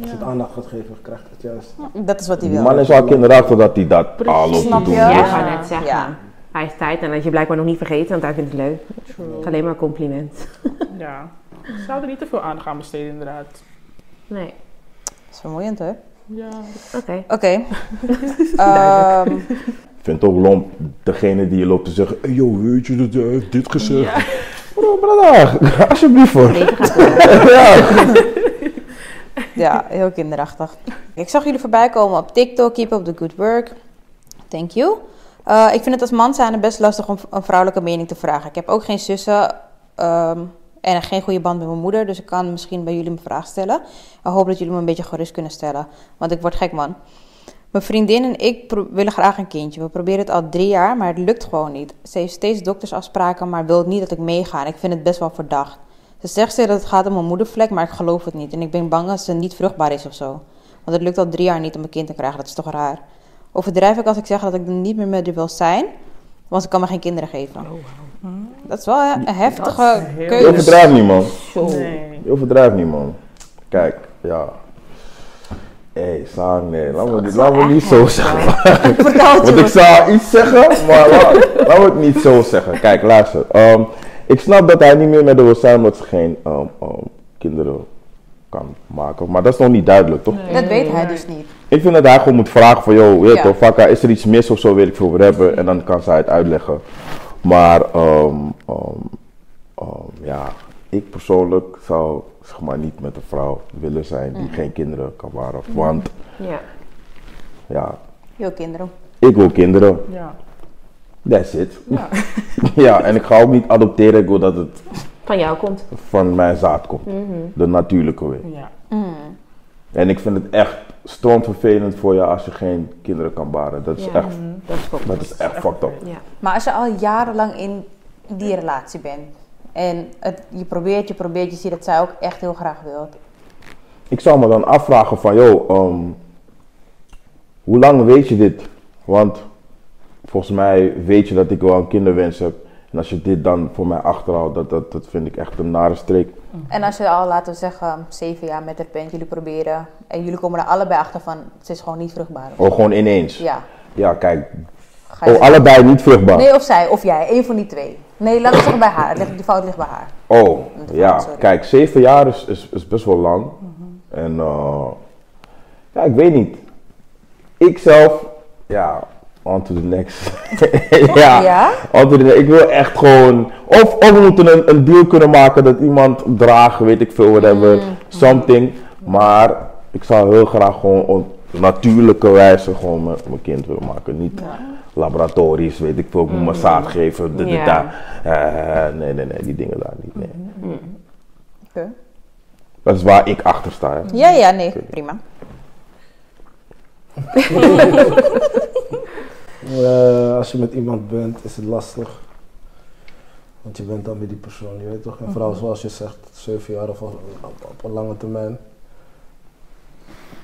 Speaker 7: Als je het aandacht gaat geven, krijgt het juist.
Speaker 4: Dat is wat hij
Speaker 6: Die
Speaker 4: wil.
Speaker 6: man is al kinderachtig dat hij dat al op te
Speaker 5: snap
Speaker 6: doen.
Speaker 5: je? Ja.
Speaker 1: Ja, ik
Speaker 6: is.
Speaker 1: wou net zeggen.
Speaker 4: Ja.
Speaker 1: Hij heeft tijd en dat je blijkbaar nog niet vergeten, want hij vindt het leuk.
Speaker 5: True.
Speaker 1: Het is alleen maar een compliment.
Speaker 5: Ja. Ze zouden niet te veel aandacht aan besteden, inderdaad.
Speaker 1: Nee,
Speaker 4: Dat is vermoeiend hoor.
Speaker 5: Ja.
Speaker 1: oké.
Speaker 4: Oké. Ehm,
Speaker 6: Ik vind het ook lomp, degene die je loopt te zeggen, hey, yo, weet je dat jij heeft dit gezegd? Bro, brada, alsjeblieft hoor. ja.
Speaker 4: ja, heel kinderachtig. Ik zag jullie voorbij komen op TikTok. Keep up the good work. Thank you. Eh, ik vind het als man zijnde best lastig om een vrouwelijke mening te vragen. Ik heb ook geen zussen ehm, en geen goede band met mijn moeder. Dus ik kan misschien bij jullie een vraag stellen. Ik hoop dat jullie me een beetje gerust kunnen stellen. Want ik word gek man. Mijn vriendin en ik pro- willen graag een kindje. We proberen het al drie jaar, maar het lukt gewoon niet. Ze heeft steeds doktersafspraken, maar wil niet dat ik meega. En ik vind het best wel verdacht. Ze zegt steeds dat het gaat om een moedervlek, maar ik geloof het niet. En ik ben bang dat ze niet vruchtbaar is of zo. Want het lukt al drie jaar niet om een kind te krijgen. Dat is toch raar. Overdrijf ik als ik zeg dat ik er niet meer met haar wil zijn, want ze kan me geen kinderen geven. Hm? Dat is wel een heftige
Speaker 5: heel-
Speaker 6: Je
Speaker 4: keuze.
Speaker 6: overdrijft niet, man.
Speaker 5: Nee.
Speaker 6: Je overdrijft niet, man. Kijk, ja. Hé, hey, Saar, nee, laten we, dit- laten we niet zo zeggen.
Speaker 4: Vertel het
Speaker 6: Want ik
Speaker 4: jongens.
Speaker 6: zou iets zeggen, maar la- laten we het niet zo zeggen. Kijk, luister. ehm, ik snap dat hij niet meer met haar wil zijn omdat ze geen ehm, ehm, kinderen kan maken. Maar dat is nog niet duidelijk, toch?
Speaker 4: Dat weet hij dus niet.
Speaker 6: Ik vind dat hij gewoon moet vragen van, joh, weet je
Speaker 4: Ja.
Speaker 6: toch, vakka, is er iets mis of zo, wil ik veel over hebben. En dan kan zij het uitleggen. Maar, ehm, ehm, ehm, ja, ik persoonlijk zou, zeg maar, niet met een vrouw willen zijn die geen kinderen kan baren. Want,
Speaker 1: Ja.
Speaker 6: ja,
Speaker 4: Heel kinderen.
Speaker 6: ik wil kinderen.
Speaker 5: Ja.
Speaker 6: That's it.
Speaker 5: Ja.
Speaker 6: ja, en ik ga ook niet adopteren. Ik wil dat het
Speaker 1: Van jou komt.
Speaker 6: van mijn zaad komt. De natuurlijke weg.
Speaker 5: Ja.
Speaker 6: En ik vind het echt stroomvervelend voor je als je geen kinderen kan baren. Dat is
Speaker 1: Ja.
Speaker 6: echt,
Speaker 1: Dat is
Speaker 6: dat is echt fucked up.
Speaker 4: Maar als je al jarenlang in die relatie bent en het, je probeert, je probeert, je ziet dat zij ook echt heel graag wil.
Speaker 6: Ik zou me dan afvragen van, joh, ehm, hoe lang weet je dit? Want volgens mij weet je dat ik wel een kinderwens heb. En als je dit dan voor mij achterhoudt, dat, dat, dat vind ik echt een nare streek.
Speaker 4: En als je al, laten we zeggen, zeven jaar met haar bent, jullie proberen en jullie komen er allebei achter van ze is gewoon niet vruchtbaar.
Speaker 6: Oh, gewoon ineens. Ja,
Speaker 4: Ja,
Speaker 6: kijk.
Speaker 4: ga je
Speaker 6: Oh, allebei niet vruchtbaar.
Speaker 4: Nee, of zij, of jij, één van die twee. Nee, laten we zeggen bij haar. Het ligt- Die fout ligt bij haar.
Speaker 6: Oh,
Speaker 4: Dat
Speaker 6: ja.
Speaker 4: valt, sorry. Mhm.
Speaker 6: Kijk, zeven jaar is, is, is best wel lang. En eh, ja, ik weet niet. Ik zelf, ja, on to the next. ja,
Speaker 4: Ja?
Speaker 6: on to the next. Ik wil echt gewoon, of, of we moeten een, een deal kunnen maken dat iemand draagt, weet ik veel, whatever,
Speaker 4: Mhm.
Speaker 6: something. Maar ik zou heel graag gewoon op natuurlijke wijze gewoon mijn, mijn kind willen maken. Niet laboratorisch, weet ik veel, ik moet
Speaker 4: Mhm.
Speaker 6: mijn zaad geven, dit, dit,
Speaker 1: Ja.
Speaker 6: dat. Eh, nee, nee, nee, die dingen daar niet. Nee.
Speaker 4: Hmm. Oké.
Speaker 6: Dat is waar ik achter sta. hè.
Speaker 4: Ja, ja, nee, prima.
Speaker 7: Eh, als je met iemand bent, is het lastig. Want je bent dan weer die persoon, je weet toch? En vooral zoals je zegt, zeven jaar of op, op een lange termijn.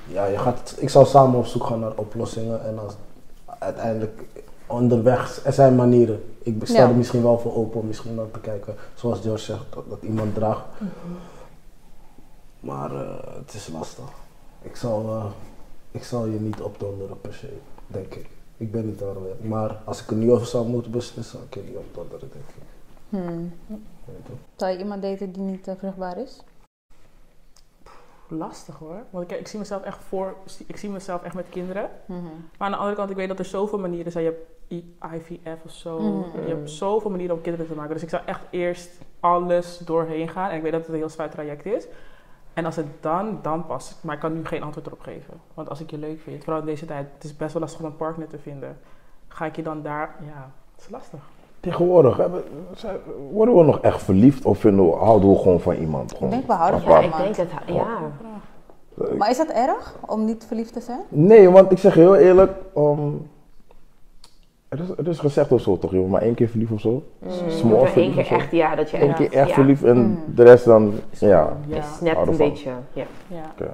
Speaker 7: Ja, je gaat, ik zou samen op zoek gaan naar oplossingen. En als, uiteindelijk, onderweg, er zijn manieren. Ik sta er
Speaker 4: Ja.
Speaker 7: misschien wel voor open om misschien wel te kijken, zoals George zegt, dat, dat iemand draagt. Maar eh, het is lastig. Ik zal, eh, ik zal je niet opdonderen per se, denk ik. Ik ben niet daarmee. Maar als ik er nu over zou moeten beslissen, zou ik je niet opdonderen, denk ik.
Speaker 4: Hmm.
Speaker 7: Weet je.
Speaker 4: Zou je iemand daten die niet eh, vruchtbaar is?
Speaker 5: Lastig hoor. Want ik, ik zie mezelf echt voor, ik zie mezelf echt met kinderen.
Speaker 4: Mhm.
Speaker 1: Hmm.
Speaker 5: Maar aan de andere kant, ik weet dat er zoveel manieren zijn. Je hebt I- IVF of zo.
Speaker 4: Mhm.
Speaker 5: Je hebt zoveel manieren om kinderen te maken. Dus ik zou echt eerst alles doorheen gaan. En ik weet dat het een heel zwaar traject is. En als het dan, dan past. Maar ik kan nu geen antwoord erop geven. Want als ik je leuk vind, vooral in deze tijd, het is best wel lastig om een partner te vinden. Ga ik je dan daar, ja, het is lastig.
Speaker 6: Tegenwoordig hebben, zijn- worden we nog echt verliefd of vinden we, houden we gewoon van iemand? Gewoon
Speaker 4: Ik denk we houden
Speaker 6: apart?
Speaker 1: Ja,
Speaker 4: van
Speaker 1: ik denk
Speaker 4: iemand.
Speaker 1: het. Ja.
Speaker 6: Eh,
Speaker 4: Maar is dat erg om niet verliefd te zijn?
Speaker 6: Nee, want ik zeg je heel eerlijk, ehm, er, is, er is gezegd of zo toch, joh, maar één keer verliefd of zo.
Speaker 1: Hm. Je
Speaker 6: Small
Speaker 1: moet wel één
Speaker 6: verliefd
Speaker 1: keer
Speaker 6: of zo.
Speaker 1: echt, ja, dat je
Speaker 6: Eén
Speaker 1: echt,
Speaker 6: keer echt
Speaker 1: ja,
Speaker 6: verliefd en
Speaker 4: Hmm.
Speaker 6: de rest dan, ja.
Speaker 1: Je
Speaker 5: Ja.
Speaker 1: snapt
Speaker 6: hou
Speaker 1: een
Speaker 6: ervan.
Speaker 1: beetje. Ja.
Speaker 5: Ja.
Speaker 6: Oké.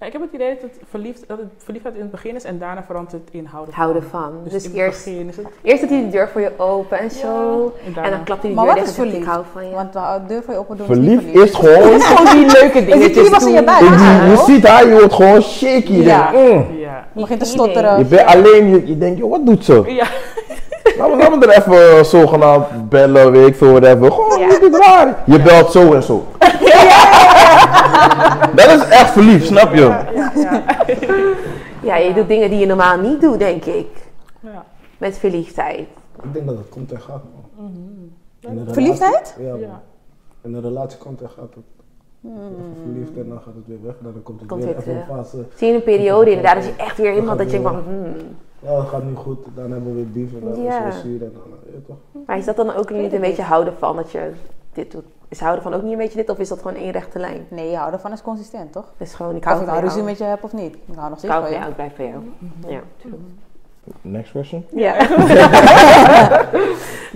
Speaker 5: Ja, ik heb het idee dat het, verliefd, dat het verliefdheid in het begin is en daarna verandert het in houden van.
Speaker 1: Houden van. Dus,
Speaker 5: Dus, in het
Speaker 1: eerst,
Speaker 5: begin is het...
Speaker 1: eerst dat hij de deur voor je open en zo.
Speaker 5: En
Speaker 1: En
Speaker 5: daarna-
Speaker 1: dan klapt hij de
Speaker 4: Maar
Speaker 1: deur
Speaker 4: wat
Speaker 1: dicht en
Speaker 4: is
Speaker 1: zegt,
Speaker 4: verliefd?
Speaker 1: dus Ik hou van je.
Speaker 4: Want de deur voor je open doen
Speaker 6: Verliefd
Speaker 4: is niet
Speaker 6: is gewoon,
Speaker 1: Gewoon die leuke
Speaker 4: Is die
Speaker 1: dingetjes
Speaker 4: kriebels in je
Speaker 1: doen.
Speaker 4: buik?
Speaker 6: je,
Speaker 4: Ja,
Speaker 6: je
Speaker 4: hoor.
Speaker 6: ziet haar, je wordt gewoon shaky. Je
Speaker 4: Ja.
Speaker 6: denkt, mm.
Speaker 5: Ja.
Speaker 4: Je begint te
Speaker 1: Die idee.
Speaker 4: stotteren.
Speaker 6: Je bent alleen, je, je denkt, joh, wat doet ze?
Speaker 5: Ja.
Speaker 6: Laten we, laten we er even eh, zogenaamd bellen, weet ik veel, whatever. Gewoon,
Speaker 1: Ja.
Speaker 6: je doet raar. Je belt zo en zo. Dat is echt verliefd, snap je?
Speaker 1: Ja, je doet dingen die je normaal niet doet, denk ik.
Speaker 5: Ja.
Speaker 1: Met verliefdheid.
Speaker 7: Ik denk dat het komt en gaat, man. In een
Speaker 4: Verliefdheid?
Speaker 7: relatie- Ja, man.
Speaker 5: Ja.
Speaker 7: In een relatie komt en gaat het. Even verliefd en dan gaat het weer weg. Dan komt het
Speaker 1: Komt
Speaker 7: weer
Speaker 1: weer
Speaker 7: even een
Speaker 1: terug.
Speaker 7: fase.
Speaker 1: Zie je een periode inderdaad, dat je echt weer helemaal dat je denkt van... hmm.
Speaker 7: Ja, het gaat niet goed. Dan hebben we weer beef en dan
Speaker 1: Ja.
Speaker 7: is het weer zuur. En dan, eh, ja, toch?
Speaker 1: hmm. Maar is dat dan ook niet een beetje houden van dat je dit doet? Is houden van ook niet een beetje dit of is dat gewoon één rechte lijn?
Speaker 4: Nee, je houdt ervan is consistent, toch?
Speaker 1: Dus gewoon, ik hou
Speaker 4: Of ik
Speaker 1: van
Speaker 4: nou
Speaker 1: jou.
Speaker 4: ruzie met je heb of niet. Ik hou nog
Speaker 1: Ik
Speaker 4: steeds
Speaker 1: hou
Speaker 4: van
Speaker 1: van jou,
Speaker 4: je.
Speaker 1: ik blijf van jou. Ja.
Speaker 6: Next question.
Speaker 1: ja.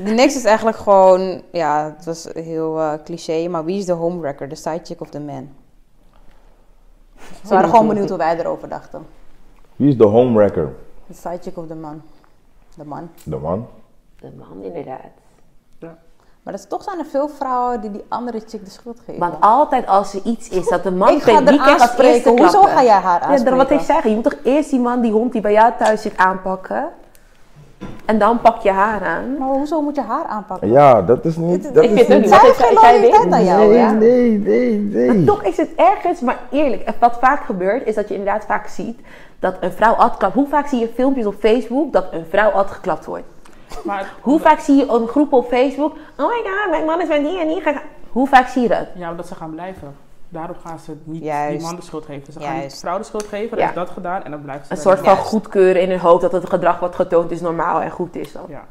Speaker 4: De next is eigenlijk gewoon, ja, het was heel eh, cliché, maar wie is de homewrecker? De side chick of de man? Ze waren gewoon benieuwd hoe wij erover dachten.
Speaker 6: Wie is de homewrecker?
Speaker 4: De side chick of de man? De man.
Speaker 6: De man.
Speaker 1: De man inderdaad.
Speaker 4: Maar dat is, toch zijn er veel vrouwen die die andere chick de schuld geven.
Speaker 1: Want altijd als er iets is dat de man
Speaker 4: ik ga
Speaker 1: vindt,
Speaker 4: er
Speaker 1: die krijgt als eerste
Speaker 4: aanspreken. Hoezo
Speaker 1: klappen.
Speaker 4: ga jij haar
Speaker 1: Ja,
Speaker 4: aanspreken?
Speaker 1: dan wat ik zeg, je moet toch eerst die man, die hond die bij jou thuis zit aanpakken. En dan pak je haar aan.
Speaker 4: Maar hoezo moet je haar aanpakken?
Speaker 6: Ja, dat is niet. Dat
Speaker 1: ik
Speaker 6: is
Speaker 1: vind het
Speaker 6: niet-
Speaker 1: niet.
Speaker 4: Zij
Speaker 1: Wat
Speaker 4: heeft
Speaker 1: ik-
Speaker 4: geen
Speaker 1: ik zei
Speaker 4: loyaliteit
Speaker 1: dit.
Speaker 4: aan jou,
Speaker 6: Nee,
Speaker 4: ja?
Speaker 6: nee, nee, nee.
Speaker 1: Toch is het ergens, maar eerlijk, wat vaak gebeurt, is dat je inderdaad vaak ziet dat een vrouw ad klapt. Hoe vaak zie je filmpjes op Facebook dat een vrouw ad geklapt wordt?
Speaker 5: Maar
Speaker 1: Hoe vaak zie je een groep op Facebook, oh my god, mijn man is met die en die. gega-" Hoe vaak zie je dat?
Speaker 5: ja, omdat ze gaan blijven. Daarop gaan ze niet
Speaker 4: Juist.
Speaker 5: die man de schuld geven. Ze gaan
Speaker 4: Juist.
Speaker 5: die vrouw de schuld geven, dan
Speaker 1: Ja.
Speaker 5: is dat gedaan en dan blijven ze
Speaker 1: Een
Speaker 5: bij
Speaker 1: soort
Speaker 5: die
Speaker 1: van
Speaker 4: Juist.
Speaker 1: goedkeuren in hun hoofd dat het gedrag wat getoond is normaal en goed is dan.
Speaker 5: man. Ja,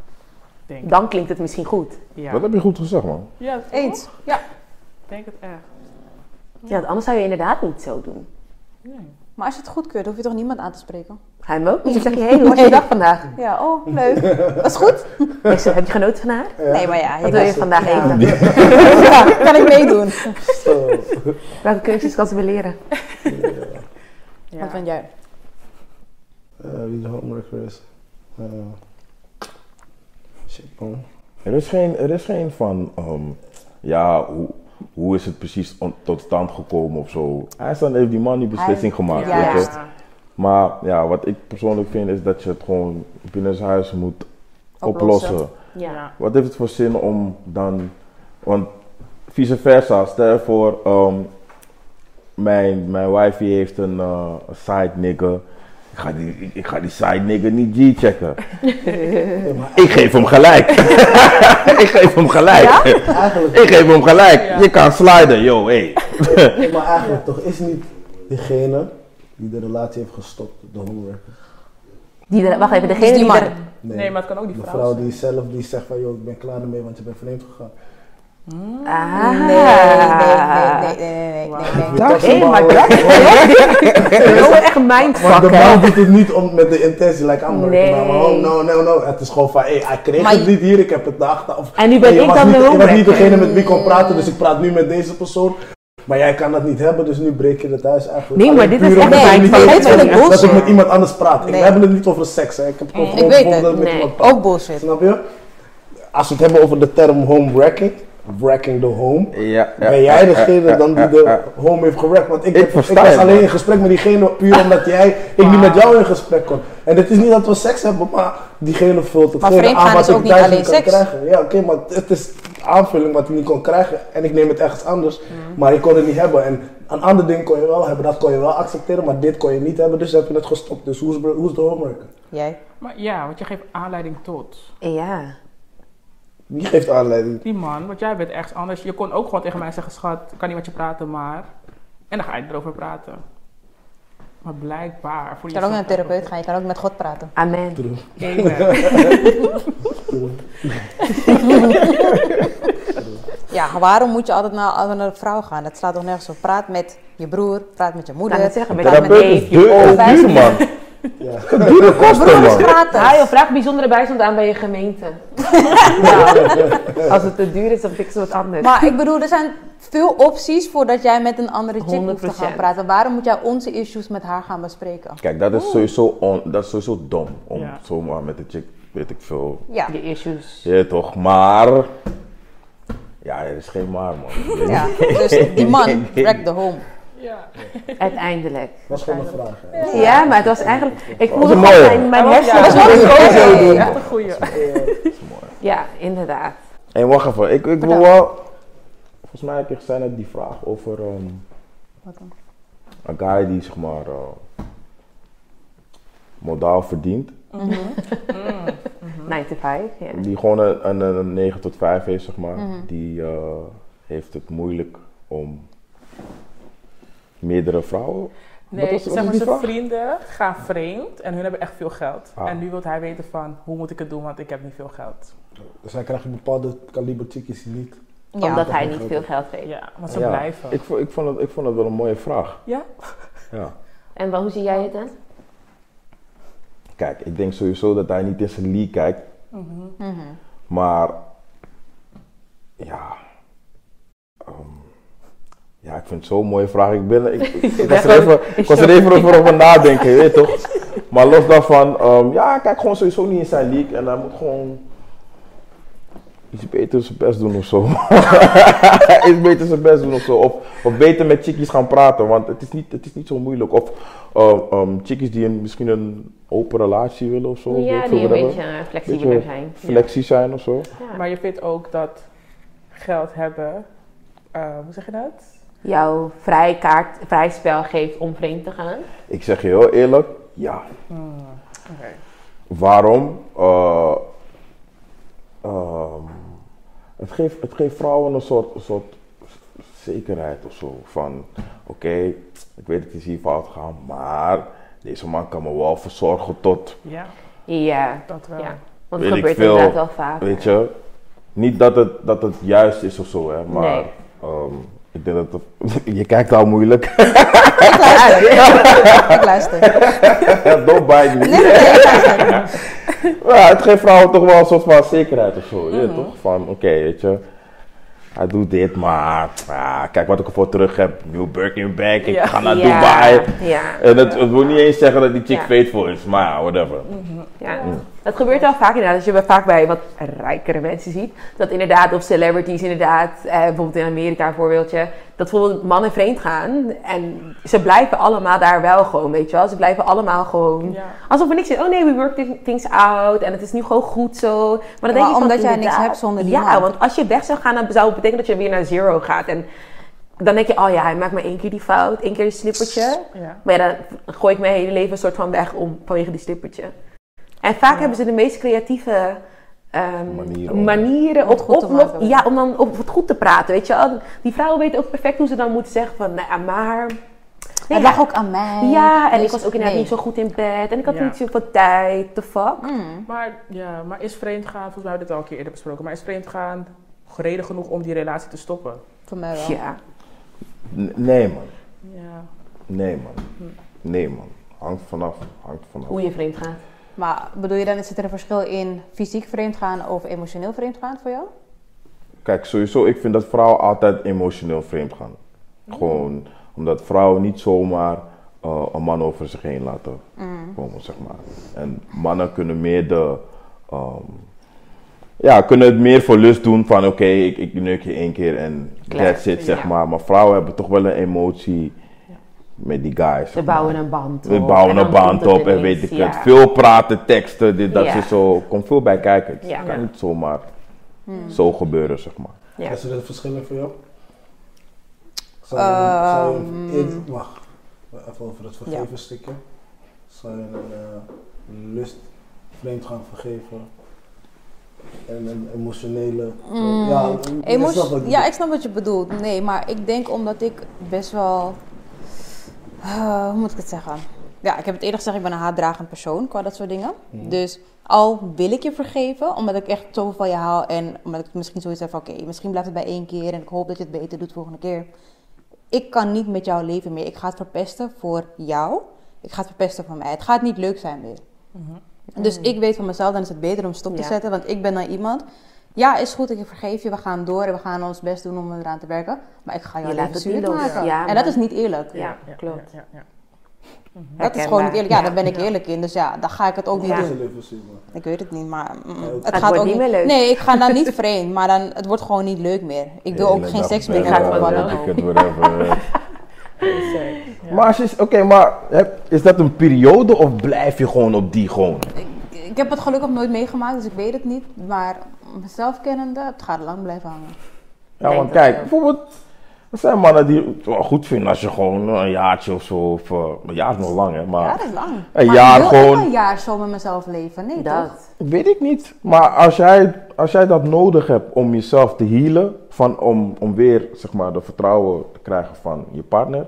Speaker 5: denk ik.
Speaker 1: Dan klinkt het misschien goed.
Speaker 5: Ja.
Speaker 6: Dat heb je goed gezegd, man.
Speaker 5: Ja, toch?
Speaker 4: Eens.
Speaker 5: Ik denk het echt.
Speaker 1: Ja, want anders zou je inderdaad niet zo doen.
Speaker 5: Nee.
Speaker 4: Maar als je het goedkeurt, hoef je toch niemand aan te spreken?
Speaker 1: Ga je hem ook niet? Ik zeg je, hé, hoe was je
Speaker 4: Nee.
Speaker 1: dag vandaag?
Speaker 4: Ja, oh, leuk. Was goed?
Speaker 1: Ik zeg, heb je genoten van haar?
Speaker 4: Nee, maar ja.
Speaker 1: Wat wil je
Speaker 4: kan-
Speaker 1: vandaag
Speaker 4: ja.
Speaker 1: eten?
Speaker 4: Ja, kan ik meedoen.
Speaker 7: Zo.
Speaker 1: Welke keuzes kan ze me leren?
Speaker 4: Wat
Speaker 5: Ja.
Speaker 4: vind jij?
Speaker 7: Eh, wie de homewrecker is. Eh, shit, man.
Speaker 6: Er is geen, er is geen van, ehm, ja, hoe, hoe is het precies on- tot stand gekomen of zo. Hij is dan heeft die man die beslissing gemaakt.
Speaker 4: Ja.
Speaker 6: weet je.
Speaker 4: Juist.
Speaker 6: Maar ja, wat ik persoonlijk vind is dat je het gewoon binnen zijn huis moet oplossen.
Speaker 4: Oplossen.
Speaker 1: Ja.
Speaker 6: Wat heeft het voor zin om dan, want vice versa, stel je voor, ehm, mijn, mijn wifey heeft een eh, een side nigger. Ik ga, die, ik- ik ga die side nigger niet G-checken.
Speaker 7: Eh,
Speaker 6: ik geef hem gelijk. ik geef hem gelijk.
Speaker 7: Eigenlijk,
Speaker 6: Ik geef hem gelijk. Je kan sliden, yo, hey.
Speaker 7: maar eigenlijk toch is niet degene die de relatie heeft gestopt, de homewrecker.
Speaker 1: Die er- wacht even, degene
Speaker 4: Dus die
Speaker 1: die,
Speaker 4: man.
Speaker 1: er-
Speaker 5: Nee, maar het kan ook die
Speaker 7: De
Speaker 5: vrouw
Speaker 7: vrouw
Speaker 5: zijn.
Speaker 7: die zelf die zegt van, joh, ik ben klaar ermee, want je bent vreemd gegaan.
Speaker 1: Ah.
Speaker 4: Nee, nee, nee, nee, nee, nee, nee, nee.
Speaker 7: Dat is
Speaker 1: Hé,
Speaker 7: een
Speaker 1: maar
Speaker 7: bal-
Speaker 1: dat dat is Oh, echt een
Speaker 7: Maar de
Speaker 1: mindfuck, hè?
Speaker 7: man doet het niet om, met de intentie, like, I'm
Speaker 1: Nee.
Speaker 7: nee. oh, no, no, no. Het is gewoon van, hey, hij kreeg
Speaker 4: Maar
Speaker 7: het
Speaker 4: je-
Speaker 7: niet hier, ik heb het daarachter. Of,
Speaker 1: En nu ben
Speaker 7: je
Speaker 1: ik
Speaker 7: was
Speaker 1: dan de
Speaker 7: niet, Je was niet
Speaker 1: homewrecker.
Speaker 7: degene met wie ik kon praten, dus ik praat nu met deze persoon. Maar jij kan dat niet hebben, dus nu breek je het huis eigenlijk.
Speaker 1: Nee, maar
Speaker 7: Alleen
Speaker 1: dit is
Speaker 7: puur
Speaker 1: echt
Speaker 7: omdat
Speaker 1: een
Speaker 7: ik niet
Speaker 1: mindfuck.
Speaker 7: wil
Speaker 4: Dit vind ik
Speaker 7: Dat ik
Speaker 4: bullshit.
Speaker 7: met iemand anders praat. Ik,
Speaker 4: Nee.
Speaker 7: we hebben het niet over seks, hè. Ik heb gewoon
Speaker 4: Ik weet
Speaker 7: gewoon
Speaker 4: het.
Speaker 7: dat ik met
Speaker 1: Nee.
Speaker 7: iemand praat.
Speaker 4: Ook bullshit.
Speaker 7: Snap je? als we het hebben over de term home wrecking, wrecking the home,
Speaker 6: Ja, ja,
Speaker 7: ben jij
Speaker 6: ja, ja,
Speaker 7: degene
Speaker 6: ja,
Speaker 7: dan die
Speaker 6: ja,
Speaker 7: de
Speaker 6: ja.
Speaker 7: home heeft gewrekt? Want ik,
Speaker 6: Ik
Speaker 7: heb- ik
Speaker 6: versta
Speaker 7: was
Speaker 6: je,
Speaker 7: alleen
Speaker 6: man.
Speaker 7: in gesprek met diegene puur omdat jij, ik niet met jou in gesprek kon. En het is niet dat we seks hebben, maar diegene vult
Speaker 4: Maar
Speaker 7: hetgene aan
Speaker 4: vreemdgaan
Speaker 7: wat
Speaker 4: is ook
Speaker 7: ik
Speaker 4: niet
Speaker 7: thuis
Speaker 4: alleen
Speaker 7: kan
Speaker 4: seks.
Speaker 7: krijgen. Ja, oké, maar het is aanvulling wat ik niet kon krijgen. En ik neem het ergens anders,
Speaker 4: Mm.
Speaker 7: maar ik kon het niet hebben. En een ander ding kon je wel hebben, dat kon je wel accepteren, maar dit kon je niet hebben, dus heb je het gestopt. Dus hoe is, hoe is de homewrecker?
Speaker 4: Jij?
Speaker 5: Maar ja, want je geeft aanleiding tot.
Speaker 1: Ja.
Speaker 7: Wie geeft aanleiding?
Speaker 5: Die man, want jij bent ergens anders. Je kon ook gewoon tegen mij zeggen, schat, ik kan niet met je praten, maar... En dan ga je erover praten. Maar blijkbaar voel
Speaker 4: Je
Speaker 5: je
Speaker 4: kan ook naar een
Speaker 5: jezelf
Speaker 4: therapeut gaan, je kan ook met God praten.
Speaker 1: Amen.
Speaker 5: Amen.
Speaker 4: Ja, waarom moet je altijd naar een andere vrouw gaan? Dat slaat toch nergens op. Praat met je broer, praat met je
Speaker 1: Ik kan het
Speaker 4: moeder.
Speaker 1: zeggen, met
Speaker 4: Therapeut
Speaker 1: mijn neef,
Speaker 6: Therapeut is dus-
Speaker 1: je
Speaker 6: duur,
Speaker 1: oom.
Speaker 6: is duur man. Dure kosten
Speaker 4: Broer is
Speaker 6: man.
Speaker 1: Ah,
Speaker 4: gratis.
Speaker 1: joh, vraag bijzondere bijstand aan bij je gemeente. Nou, als het te duur is, dan fixen we wat anders.
Speaker 4: Maar ik bedoel, er zijn veel opties voordat jij met een andere chick hoeft te
Speaker 1: 100%.
Speaker 4: gaan praten. Waarom moet jij onze issues met haar gaan bespreken?
Speaker 6: Kijk, dat is sowieso, on, dat is sowieso dom. Om
Speaker 5: Ja.
Speaker 6: zomaar met de chick, weet ik veel.
Speaker 4: Ja.
Speaker 1: De issues.
Speaker 6: Ja, toch? Maar... Ja, er is geen maar man.
Speaker 4: ja. Dus die man, wreck the home.
Speaker 1: Uiteindelijk.
Speaker 7: Dat is gewoon een vraag. hè.
Speaker 1: Ja, maar het was eigenlijk... Ik voelde
Speaker 6: een
Speaker 1: gewoon
Speaker 6: mooie.
Speaker 1: mijn, mijn
Speaker 5: Ja,
Speaker 1: hersenen...
Speaker 5: dat is
Speaker 4: ook zo doen.
Speaker 5: Echt een goeie.
Speaker 1: Ja, inderdaad.
Speaker 6: En wacht even, ik, ik wil wel. Volgens mij heb je gezegd net die vraag over. ehm,
Speaker 4: Wat dan?
Speaker 6: Een guy die zeg maar. eh, modaal verdient.
Speaker 1: 9 to 5, ja.
Speaker 6: Die gewoon een, een, een 9 tot 5 heeft, zeg maar. Die eh, heeft het moeilijk om. meerdere vrouwen.
Speaker 5: Nee,
Speaker 6: was-
Speaker 5: zeg
Speaker 6: wat is
Speaker 5: maar,
Speaker 6: die
Speaker 5: zijn
Speaker 6: vraag?
Speaker 5: vrienden gaan vreemd en hun hebben echt veel geld.
Speaker 6: Ah.
Speaker 5: En nu wil hij weten van, hoe moet ik het doen, want ik heb niet veel geld.
Speaker 7: Dus hij krijgt een bepaalde kaliber chickies niet.
Speaker 4: Ja.
Speaker 1: Omdat hij niet veel geld heeft.
Speaker 5: Ja, want ze
Speaker 6: Ja,
Speaker 5: blijven.
Speaker 6: Ik, vo- ik, vond het, ik vond het wel een mooie vraag.
Speaker 5: Ja?
Speaker 6: Ja.
Speaker 1: En wel, hoe zie jij het dan?
Speaker 6: Kijk, ik denk sowieso dat hij niet in zijn league kijkt.
Speaker 4: Mhm.
Speaker 6: Maar ja, ehm, ja, ik vind het zo'n mooie vraag. Ik, ben, ik, ik, ik was er even, ik was er even over, over nadenken, je weet toch? Maar los daarvan, ehm, ja, hij kijkt gewoon sowieso niet in zijn league en hij moet gewoon iets beter zijn best doen of zo. iets beter zijn best doen of zo. Of, of beter met chickies gaan praten, want het is niet, het is niet zo moeilijk. Of ehm, ehm, chickies die een, misschien een open relatie willen of zo. weet ik
Speaker 1: Ja,
Speaker 6: veel,
Speaker 1: die een
Speaker 6: whatever.
Speaker 1: beetje eh, flexibeler
Speaker 6: Beetje
Speaker 1: zijn. Ja.
Speaker 6: Flexie zijn of zo.
Speaker 5: Maar je vindt ook dat geld hebben, eh, hoe zeg je dat?
Speaker 1: Jouw vrij, kaart, vrij spel geeft om vreemd te gaan.
Speaker 6: Ik zeg je heel eerlijk, ja.
Speaker 5: Oké.
Speaker 6: Waarom? Eh, ehm, het, geeft, het geeft vrouwen een soort, soort zekerheid of zo. Van, oké, ik weet dat het is hier fout gaan, maar deze man kan me wel verzorgen tot,
Speaker 5: Ja,
Speaker 1: Ja,
Speaker 5: dat wel.
Speaker 1: ja. want
Speaker 6: Weet
Speaker 1: het
Speaker 6: ik
Speaker 1: gebeurt
Speaker 6: veel.
Speaker 1: inderdaad wel vaak.
Speaker 6: weet je. Niet dat het, dat het juist is of zo, hè, maar
Speaker 1: Nee.
Speaker 6: ehm, ik denk dat het- je kijkt al moeilijk.
Speaker 4: Ik luister. Ik luister.
Speaker 6: Don't bite me.
Speaker 4: Nee, nee, nee, ik luister.
Speaker 6: Ja, het geeft vrouwen toch wel een soort van zekerheid of zo. Je
Speaker 1: Mhm.
Speaker 6: weet toch? Van oké, weet je. Hij doet dit, maar ah, kijk wat ik ervoor terug heb. New Birkin bag, ik
Speaker 5: Ja.
Speaker 6: ga naar
Speaker 1: ja,
Speaker 6: Dubai.
Speaker 1: Ja,
Speaker 6: En het, het wil niet eens zeggen dat die chick
Speaker 1: Ja. Mm.
Speaker 6: faithful is, maar ja, whatever.
Speaker 1: ja. Dat gebeurt wel vaak inderdaad. Als je bij- vaak bij wat rijkere mensen ziet. Dat inderdaad, of celebrities inderdaad. Eh, bijvoorbeeld in Amerika een voorbeeldje. Dat bijvoorbeeld mannen vreemd gaan. En ze blijven allemaal daar wel gewoon, weet je wel. Ze blijven allemaal gewoon...
Speaker 5: Ja.
Speaker 1: Alsof er niks is. Oh nee, we work thi- things out. En het is nu gewoon goed zo. Maar, dan denk
Speaker 4: maar
Speaker 1: je van,
Speaker 4: omdat jij niks
Speaker 1: inderdaad,
Speaker 4: hebt zonder die
Speaker 1: Ja,
Speaker 4: man.
Speaker 1: want als je weg zou gaan, dan zou het betekenen dat je weer naar zero gaat. En dan denk je, oh ja, hij maakt maar één keer die fout. één keer een slippertje.
Speaker 5: Ja.
Speaker 1: Maar ja, dan gooi ik mijn hele leven een soort van weg om vanwege die slippertje. En vaak hebben ze de meest creatieve ehm,
Speaker 6: Manieren om-
Speaker 1: manieren
Speaker 4: Om het
Speaker 1: om,
Speaker 4: goed te
Speaker 1: oplo-
Speaker 4: maken.
Speaker 1: ja, om dan op het goed te praten. Weet je wel? Die vrouwen weten ook perfect hoe ze dan moeten zeggen van, nou ja, maar... Nee,
Speaker 4: Het
Speaker 1: ja,
Speaker 4: lag ook aan mij.
Speaker 1: ja, en
Speaker 4: Dus
Speaker 1: ik was ook inderdaad
Speaker 4: nee.
Speaker 1: niet zo goed in bed. En ik had
Speaker 5: Ja.
Speaker 1: niet zoveel tijd. The fuck?
Speaker 4: Mm.
Speaker 5: Maar, ja, maar is vreemdgaan, volgens mij hebben we dit al een keer eerder besproken, maar is vreemdgaan reden genoeg om die relatie te stoppen?
Speaker 4: Voor mij wel.
Speaker 1: Ja.
Speaker 6: N- nee man,
Speaker 5: Ja.
Speaker 6: nee man,
Speaker 1: Mm.
Speaker 6: nee man. Hangt vanaf, hangt vanaf.
Speaker 1: Hoe je vreemd gaat.
Speaker 4: Maar bedoel je dan, zit er een verschil in fysiek vreemdgaan of emotioneel vreemdgaan voor jou?
Speaker 6: Kijk, sowieso, ik vind dat vrouwen altijd emotioneel vreemd gaan. Gewoon omdat vrouwen niet zomaar eh, een man over zich heen laten
Speaker 1: Mm.
Speaker 6: komen, zeg maar. En mannen kunnen meer de. ehm, ja, kunnen het meer voor lust doen van oké, ik, ik neuk je één keer en
Speaker 1: Klaar,
Speaker 6: that's it, zeg
Speaker 1: ja.
Speaker 6: maar. Maar vrouwen hebben toch wel een emotie met die guys.
Speaker 1: We
Speaker 6: zeg maar.
Speaker 1: bouwen een band op.
Speaker 6: We
Speaker 1: en
Speaker 6: bouwen
Speaker 1: dan
Speaker 6: een band
Speaker 1: komt het
Speaker 6: op en
Speaker 1: ineens,
Speaker 6: weet ik
Speaker 1: ja.
Speaker 6: het. Veel praten, teksten, dit, dat
Speaker 1: Ja.
Speaker 6: is zo. Komt veel bij kijken. Het
Speaker 1: Ja. Mm.
Speaker 6: kan niet zomaar zo gebeuren, zeg maar.
Speaker 1: Ja.
Speaker 7: Is er een verschil voor jou? Zou je, zou je
Speaker 4: Ehm.
Speaker 7: eerder- wacht, even over het vergeven stukje. Zou je een eh, lust vreemd gaan vergeven? En een emotionele...
Speaker 4: Mm,
Speaker 7: ja, je
Speaker 4: Emo-
Speaker 7: snapt wat ik
Speaker 4: ja,
Speaker 7: bedoel.
Speaker 4: ik snap wat je bedoelt. Nee, maar ik denk omdat ik best wel. Eh, hoe moet ik het zeggen? Ja, ik heb het eerder gezegd, ik ben een haatdragend persoon qua dat soort dingen.
Speaker 7: Mm.
Speaker 4: Dus al wil ik je vergeven, omdat ik echt zoveel van je hou en omdat ik misschien zoiets heb van: oké, misschien blijft het bij één keer en ik hoop dat je het beter doet volgende keer. Ik kan niet met jou leven meer. Ik ga het verpesten voor jou. Ik ga het verpesten voor mij. Het gaat niet leuk zijn meer. Dus ik weet van mezelf, dan is het beter om stop
Speaker 1: Mhm.
Speaker 4: te
Speaker 1: Mm. Ja.
Speaker 4: zetten. Want ik ben dan iemand. Ja, is goed, ik vergeef je. We gaan door en we gaan ons best doen om eraan te werken. Maar ik ga jou
Speaker 1: Je
Speaker 4: leven
Speaker 1: laat het niet
Speaker 4: zuur
Speaker 1: los.
Speaker 4: maken.
Speaker 1: Ja,
Speaker 4: en
Speaker 1: maar-
Speaker 4: dat is niet eerlijk.
Speaker 1: Ja, klopt.
Speaker 5: Ja, ja,
Speaker 4: Dat is
Speaker 1: Herkenbaar.
Speaker 4: gewoon niet eerlijk. Ja, daar ben ik eerlijk in. Dus ja, dan ga ik het ook niet
Speaker 1: Ja.
Speaker 7: Dat
Speaker 4: doen.
Speaker 7: is een levensziel, man.
Speaker 4: Ik weet het niet, maar mm, het,
Speaker 1: Het
Speaker 4: gaat
Speaker 1: wordt
Speaker 4: ook
Speaker 1: niet meer leuk.
Speaker 4: Nee, ik ga dan niet vreemd, maar dan, het wordt gewoon niet leuk meer. Ik wil ook
Speaker 6: Hele
Speaker 4: geen
Speaker 6: dag
Speaker 4: seks meer
Speaker 6: bellen,
Speaker 4: hebben.
Speaker 1: gaat
Speaker 4: wat
Speaker 1: wel
Speaker 4: dan ook.
Speaker 6: weet ik het, whatever.
Speaker 5: ja.
Speaker 6: Maar als je, oké, maar heb- is dat een periode of blijf je gewoon op die gewoon?
Speaker 4: Ik, ik heb het gelukkig nooit meegemaakt, dus ik weet het niet. Maar mezelf kennende, het gaat lang blijven hangen.
Speaker 6: Ja,
Speaker 1: Denk
Speaker 6: want
Speaker 1: dat
Speaker 6: kijk,
Speaker 1: wel.
Speaker 6: bijvoorbeeld, er zijn mannen die het wel goed vinden als je gewoon een jaartje of zo, of eh, een jaar is nog lang hè, maar
Speaker 4: Ja, dat is lang.
Speaker 6: Een
Speaker 4: maar
Speaker 6: jaar
Speaker 4: ik wil
Speaker 6: gewoon-
Speaker 4: ook een jaar zo met mezelf leven. Nee, toch?
Speaker 1: Dat.
Speaker 6: weet ik niet. Maar als jij, als jij dat nodig hebt om jezelf te healen, van, om, om weer zeg maar de vertrouwen te krijgen van je partner,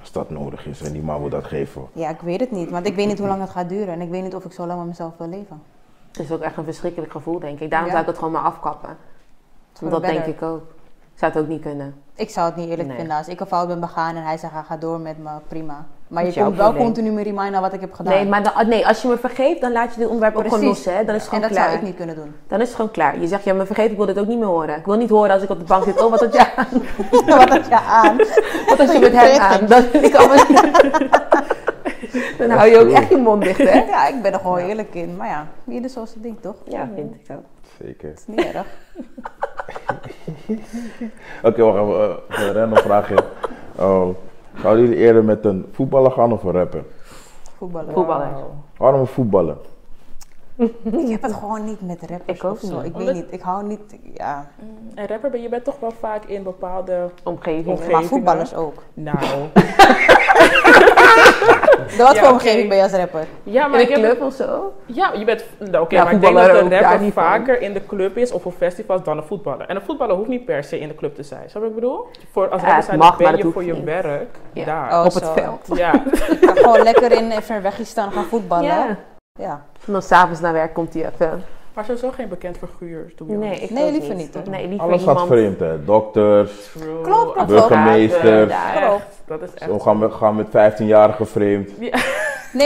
Speaker 6: als dat nodig is en die man wil dat geven.
Speaker 4: Ja, ik weet het niet, want ik weet niet hoe lang het gaat duren. En ik weet niet of ik zo lang met mezelf wil leven.
Speaker 1: Het is ook echt een verschrikkelijk gevoel, denk ik. Daarom
Speaker 4: Ja.
Speaker 1: zou ik het gewoon maar afkappen.
Speaker 4: For
Speaker 1: Want
Speaker 4: the
Speaker 1: dat denk
Speaker 4: better.
Speaker 1: ik ook. Ik zou het ook niet kunnen.
Speaker 4: Ik zou het niet eerlijk
Speaker 1: Nee.
Speaker 4: vinden als ik een fout ben begaan en hij zegt, hij gaat door met me, prima. Maar je
Speaker 1: Moet jouw
Speaker 4: komt wel
Speaker 1: probleem.
Speaker 4: continu me reminder wat ik heb gedaan.
Speaker 1: Nee, maar dan, oh, nee, als je me vergeeft, dan laat je dit onderwerp ook gewoon
Speaker 4: Precies.
Speaker 1: los, hè? Dan is het
Speaker 4: en
Speaker 1: gewoon
Speaker 4: Dus dat
Speaker 1: Oh, klaar.
Speaker 4: zou ik niet kunnen doen.
Speaker 1: Dan is het gewoon klaar. Je zegt, ja, me vergeef, ik wil dit ook niet meer horen. Ik wil niet horen als ik op de bank zit. Oh, wat had je aan?
Speaker 4: wat had je aan?
Speaker 1: Wat had je met hem aan? Dat wil ik allemaal niet. Dan hou je ook echt je mond dicht, hè?
Speaker 4: Ja, ik ben er gewoon eerlijk in. Maar ja, ieder zoals het ding, toch?
Speaker 1: Ja, vind ik ook.
Speaker 6: Zeker.
Speaker 4: Het is niet erg.
Speaker 6: Oké, wacht even. eh, een random vraagje. Eh, zouden jullie eerder met een voetballer gaan of een rapper?
Speaker 4: Voetballen.
Speaker 1: Voetballer.
Speaker 6: Waarom een voetballer?
Speaker 4: Ik heb het gewoon niet met rappers
Speaker 1: Ik ook
Speaker 4: of zo.
Speaker 1: niet.
Speaker 4: Ik weet
Speaker 5: Omdat-
Speaker 4: niet. Ik hou niet... Ja.
Speaker 5: En rapper, ben je bent toch wel vaak in bepaalde...
Speaker 1: Omgeving.
Speaker 5: Omgeving.
Speaker 4: Maar voetballers ook.
Speaker 5: Nou...
Speaker 4: De wat
Speaker 5: Ja,
Speaker 4: voor
Speaker 5: oké.
Speaker 4: omgeving ben je als rapper?
Speaker 5: Ja,
Speaker 1: In
Speaker 5: maar
Speaker 1: een
Speaker 5: ik heb
Speaker 1: club of zo?
Speaker 5: Ja, je bent. Nou, Oké,
Speaker 1: Ja,
Speaker 5: maar ik denk dat
Speaker 1: voetballer ook,
Speaker 5: een
Speaker 1: daar
Speaker 5: rapper
Speaker 1: niet van.
Speaker 5: vaker in de club is of op festivals dan een voetballer. En een voetballer hoeft niet per se in de club te zijn. Snap je wat ik bedoel? Voor, als
Speaker 1: Ja,
Speaker 5: rapper
Speaker 1: het
Speaker 5: zijn,
Speaker 1: mag,
Speaker 5: dan ben
Speaker 1: maar
Speaker 5: je
Speaker 1: dat
Speaker 5: voor
Speaker 1: hoeft
Speaker 5: je
Speaker 1: niet.
Speaker 5: werk
Speaker 1: Ja.
Speaker 5: daar.
Speaker 4: Oh,
Speaker 1: op het
Speaker 4: zo.
Speaker 1: veld.
Speaker 5: Ja,
Speaker 4: Ik ga Gewoon lekker in Verwegistan gaan voetballen.
Speaker 1: Ja.
Speaker 4: Ja.
Speaker 1: En dan s'avonds naar werk komt hij even.
Speaker 5: maar sowieso geen bekend figuur. to be honest.
Speaker 1: ik
Speaker 4: Nee,
Speaker 1: ook
Speaker 4: liever niet, hoor.
Speaker 1: Nee, liever
Speaker 6: Alles gaat
Speaker 1: iemand.
Speaker 6: vreemd, hè? Dokters.
Speaker 5: True.
Speaker 4: Klopt, klopt.
Speaker 6: Burgemeester.
Speaker 1: Daar.
Speaker 5: Echt, dat
Speaker 1: eh,
Speaker 5: is echt.
Speaker 6: We gaan, we gaan met 15-jarigen vreemd.
Speaker 4: Nee,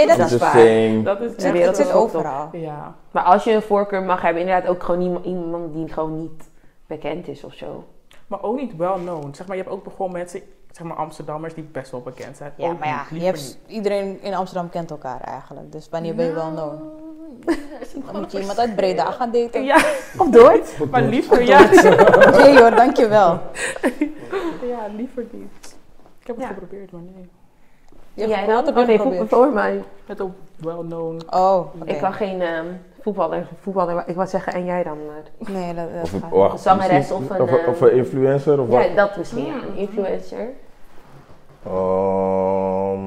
Speaker 4: dat
Speaker 6: Dit
Speaker 4: is
Speaker 6: is
Speaker 4: waar.
Speaker 6: same.
Speaker 5: Dat is
Speaker 1: De
Speaker 5: echt.
Speaker 1: wereld
Speaker 4: Het
Speaker 1: is
Speaker 4: zit
Speaker 1: ook op.
Speaker 4: overal.
Speaker 5: Ja.
Speaker 1: Maar als je een voorkeur mag hebben, inderdaad ook gewoon iemand, iemand die gewoon niet bekend is of zo.
Speaker 5: Maar ook niet well known. Zeg maar, je hebt ook begonnen met zeg maar, Amsterdammers die best wel bekend zijn.
Speaker 4: Ja,
Speaker 5: Ook
Speaker 4: maar ja,
Speaker 5: niet,
Speaker 4: je
Speaker 5: liever
Speaker 4: hebt,
Speaker 5: niet.
Speaker 4: iedereen in Amsterdam kent elkaar eigenlijk. Dus wanneer ben je wel known?
Speaker 5: Er zit
Speaker 4: Dan
Speaker 5: gewoon
Speaker 4: moet je iemand uit Breda gaan daten.
Speaker 5: Ja,
Speaker 1: Of Doord?
Speaker 5: maar liever ja.
Speaker 4: Nee hoor, dankjewel.
Speaker 5: Ja, liever niet. Ik heb het
Speaker 1: Ja.
Speaker 5: geprobeerd, maar nee.
Speaker 4: Je hebt
Speaker 1: Ja,
Speaker 4: het altijd
Speaker 1: oh, nee, voetbal
Speaker 4: geprobeerd.
Speaker 1: voor mij.
Speaker 5: Met ook well-known.
Speaker 4: Oh, oké.
Speaker 1: Ik kan geen ehm, voetballer, voetballer, ik wou zeggen, en jij dan? eh? maar-
Speaker 4: Nee, dat, dat
Speaker 6: Of een,
Speaker 4: gaat niet.
Speaker 6: wacht,
Speaker 1: Een zangeres
Speaker 6: misschien-
Speaker 1: of een,
Speaker 6: Of,
Speaker 1: eh,
Speaker 6: of een influencer of wat?
Speaker 1: Ja, dat misschien, ja, een influencer.
Speaker 6: Ehm,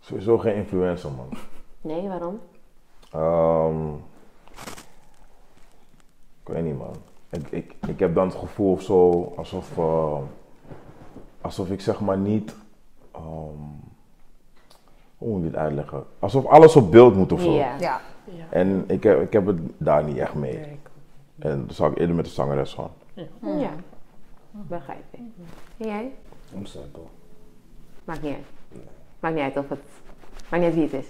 Speaker 6: sowieso geen influencer, man.
Speaker 1: Nee, waarom?
Speaker 6: Ehm, ik weet niet, man. Ik, ik, ik heb dan het gevoel of zo alsof, eh, alsof ik zeg maar niet. ehm, hoe moet ik dit uitleggen? Alsof alles op beeld moet of zo.
Speaker 1: Ja.
Speaker 4: Ja,
Speaker 5: Ja.
Speaker 6: En ik heb, ik heb het daar niet echt mee.
Speaker 5: Nee, ik-
Speaker 6: En dan zou ik eerder met de zangeres gaan.
Speaker 1: ja, begrijp ik. En jij?
Speaker 7: Om simpel.
Speaker 1: Maakt niet uit. Maakt niet uit of het, maakt niet uit wie het is.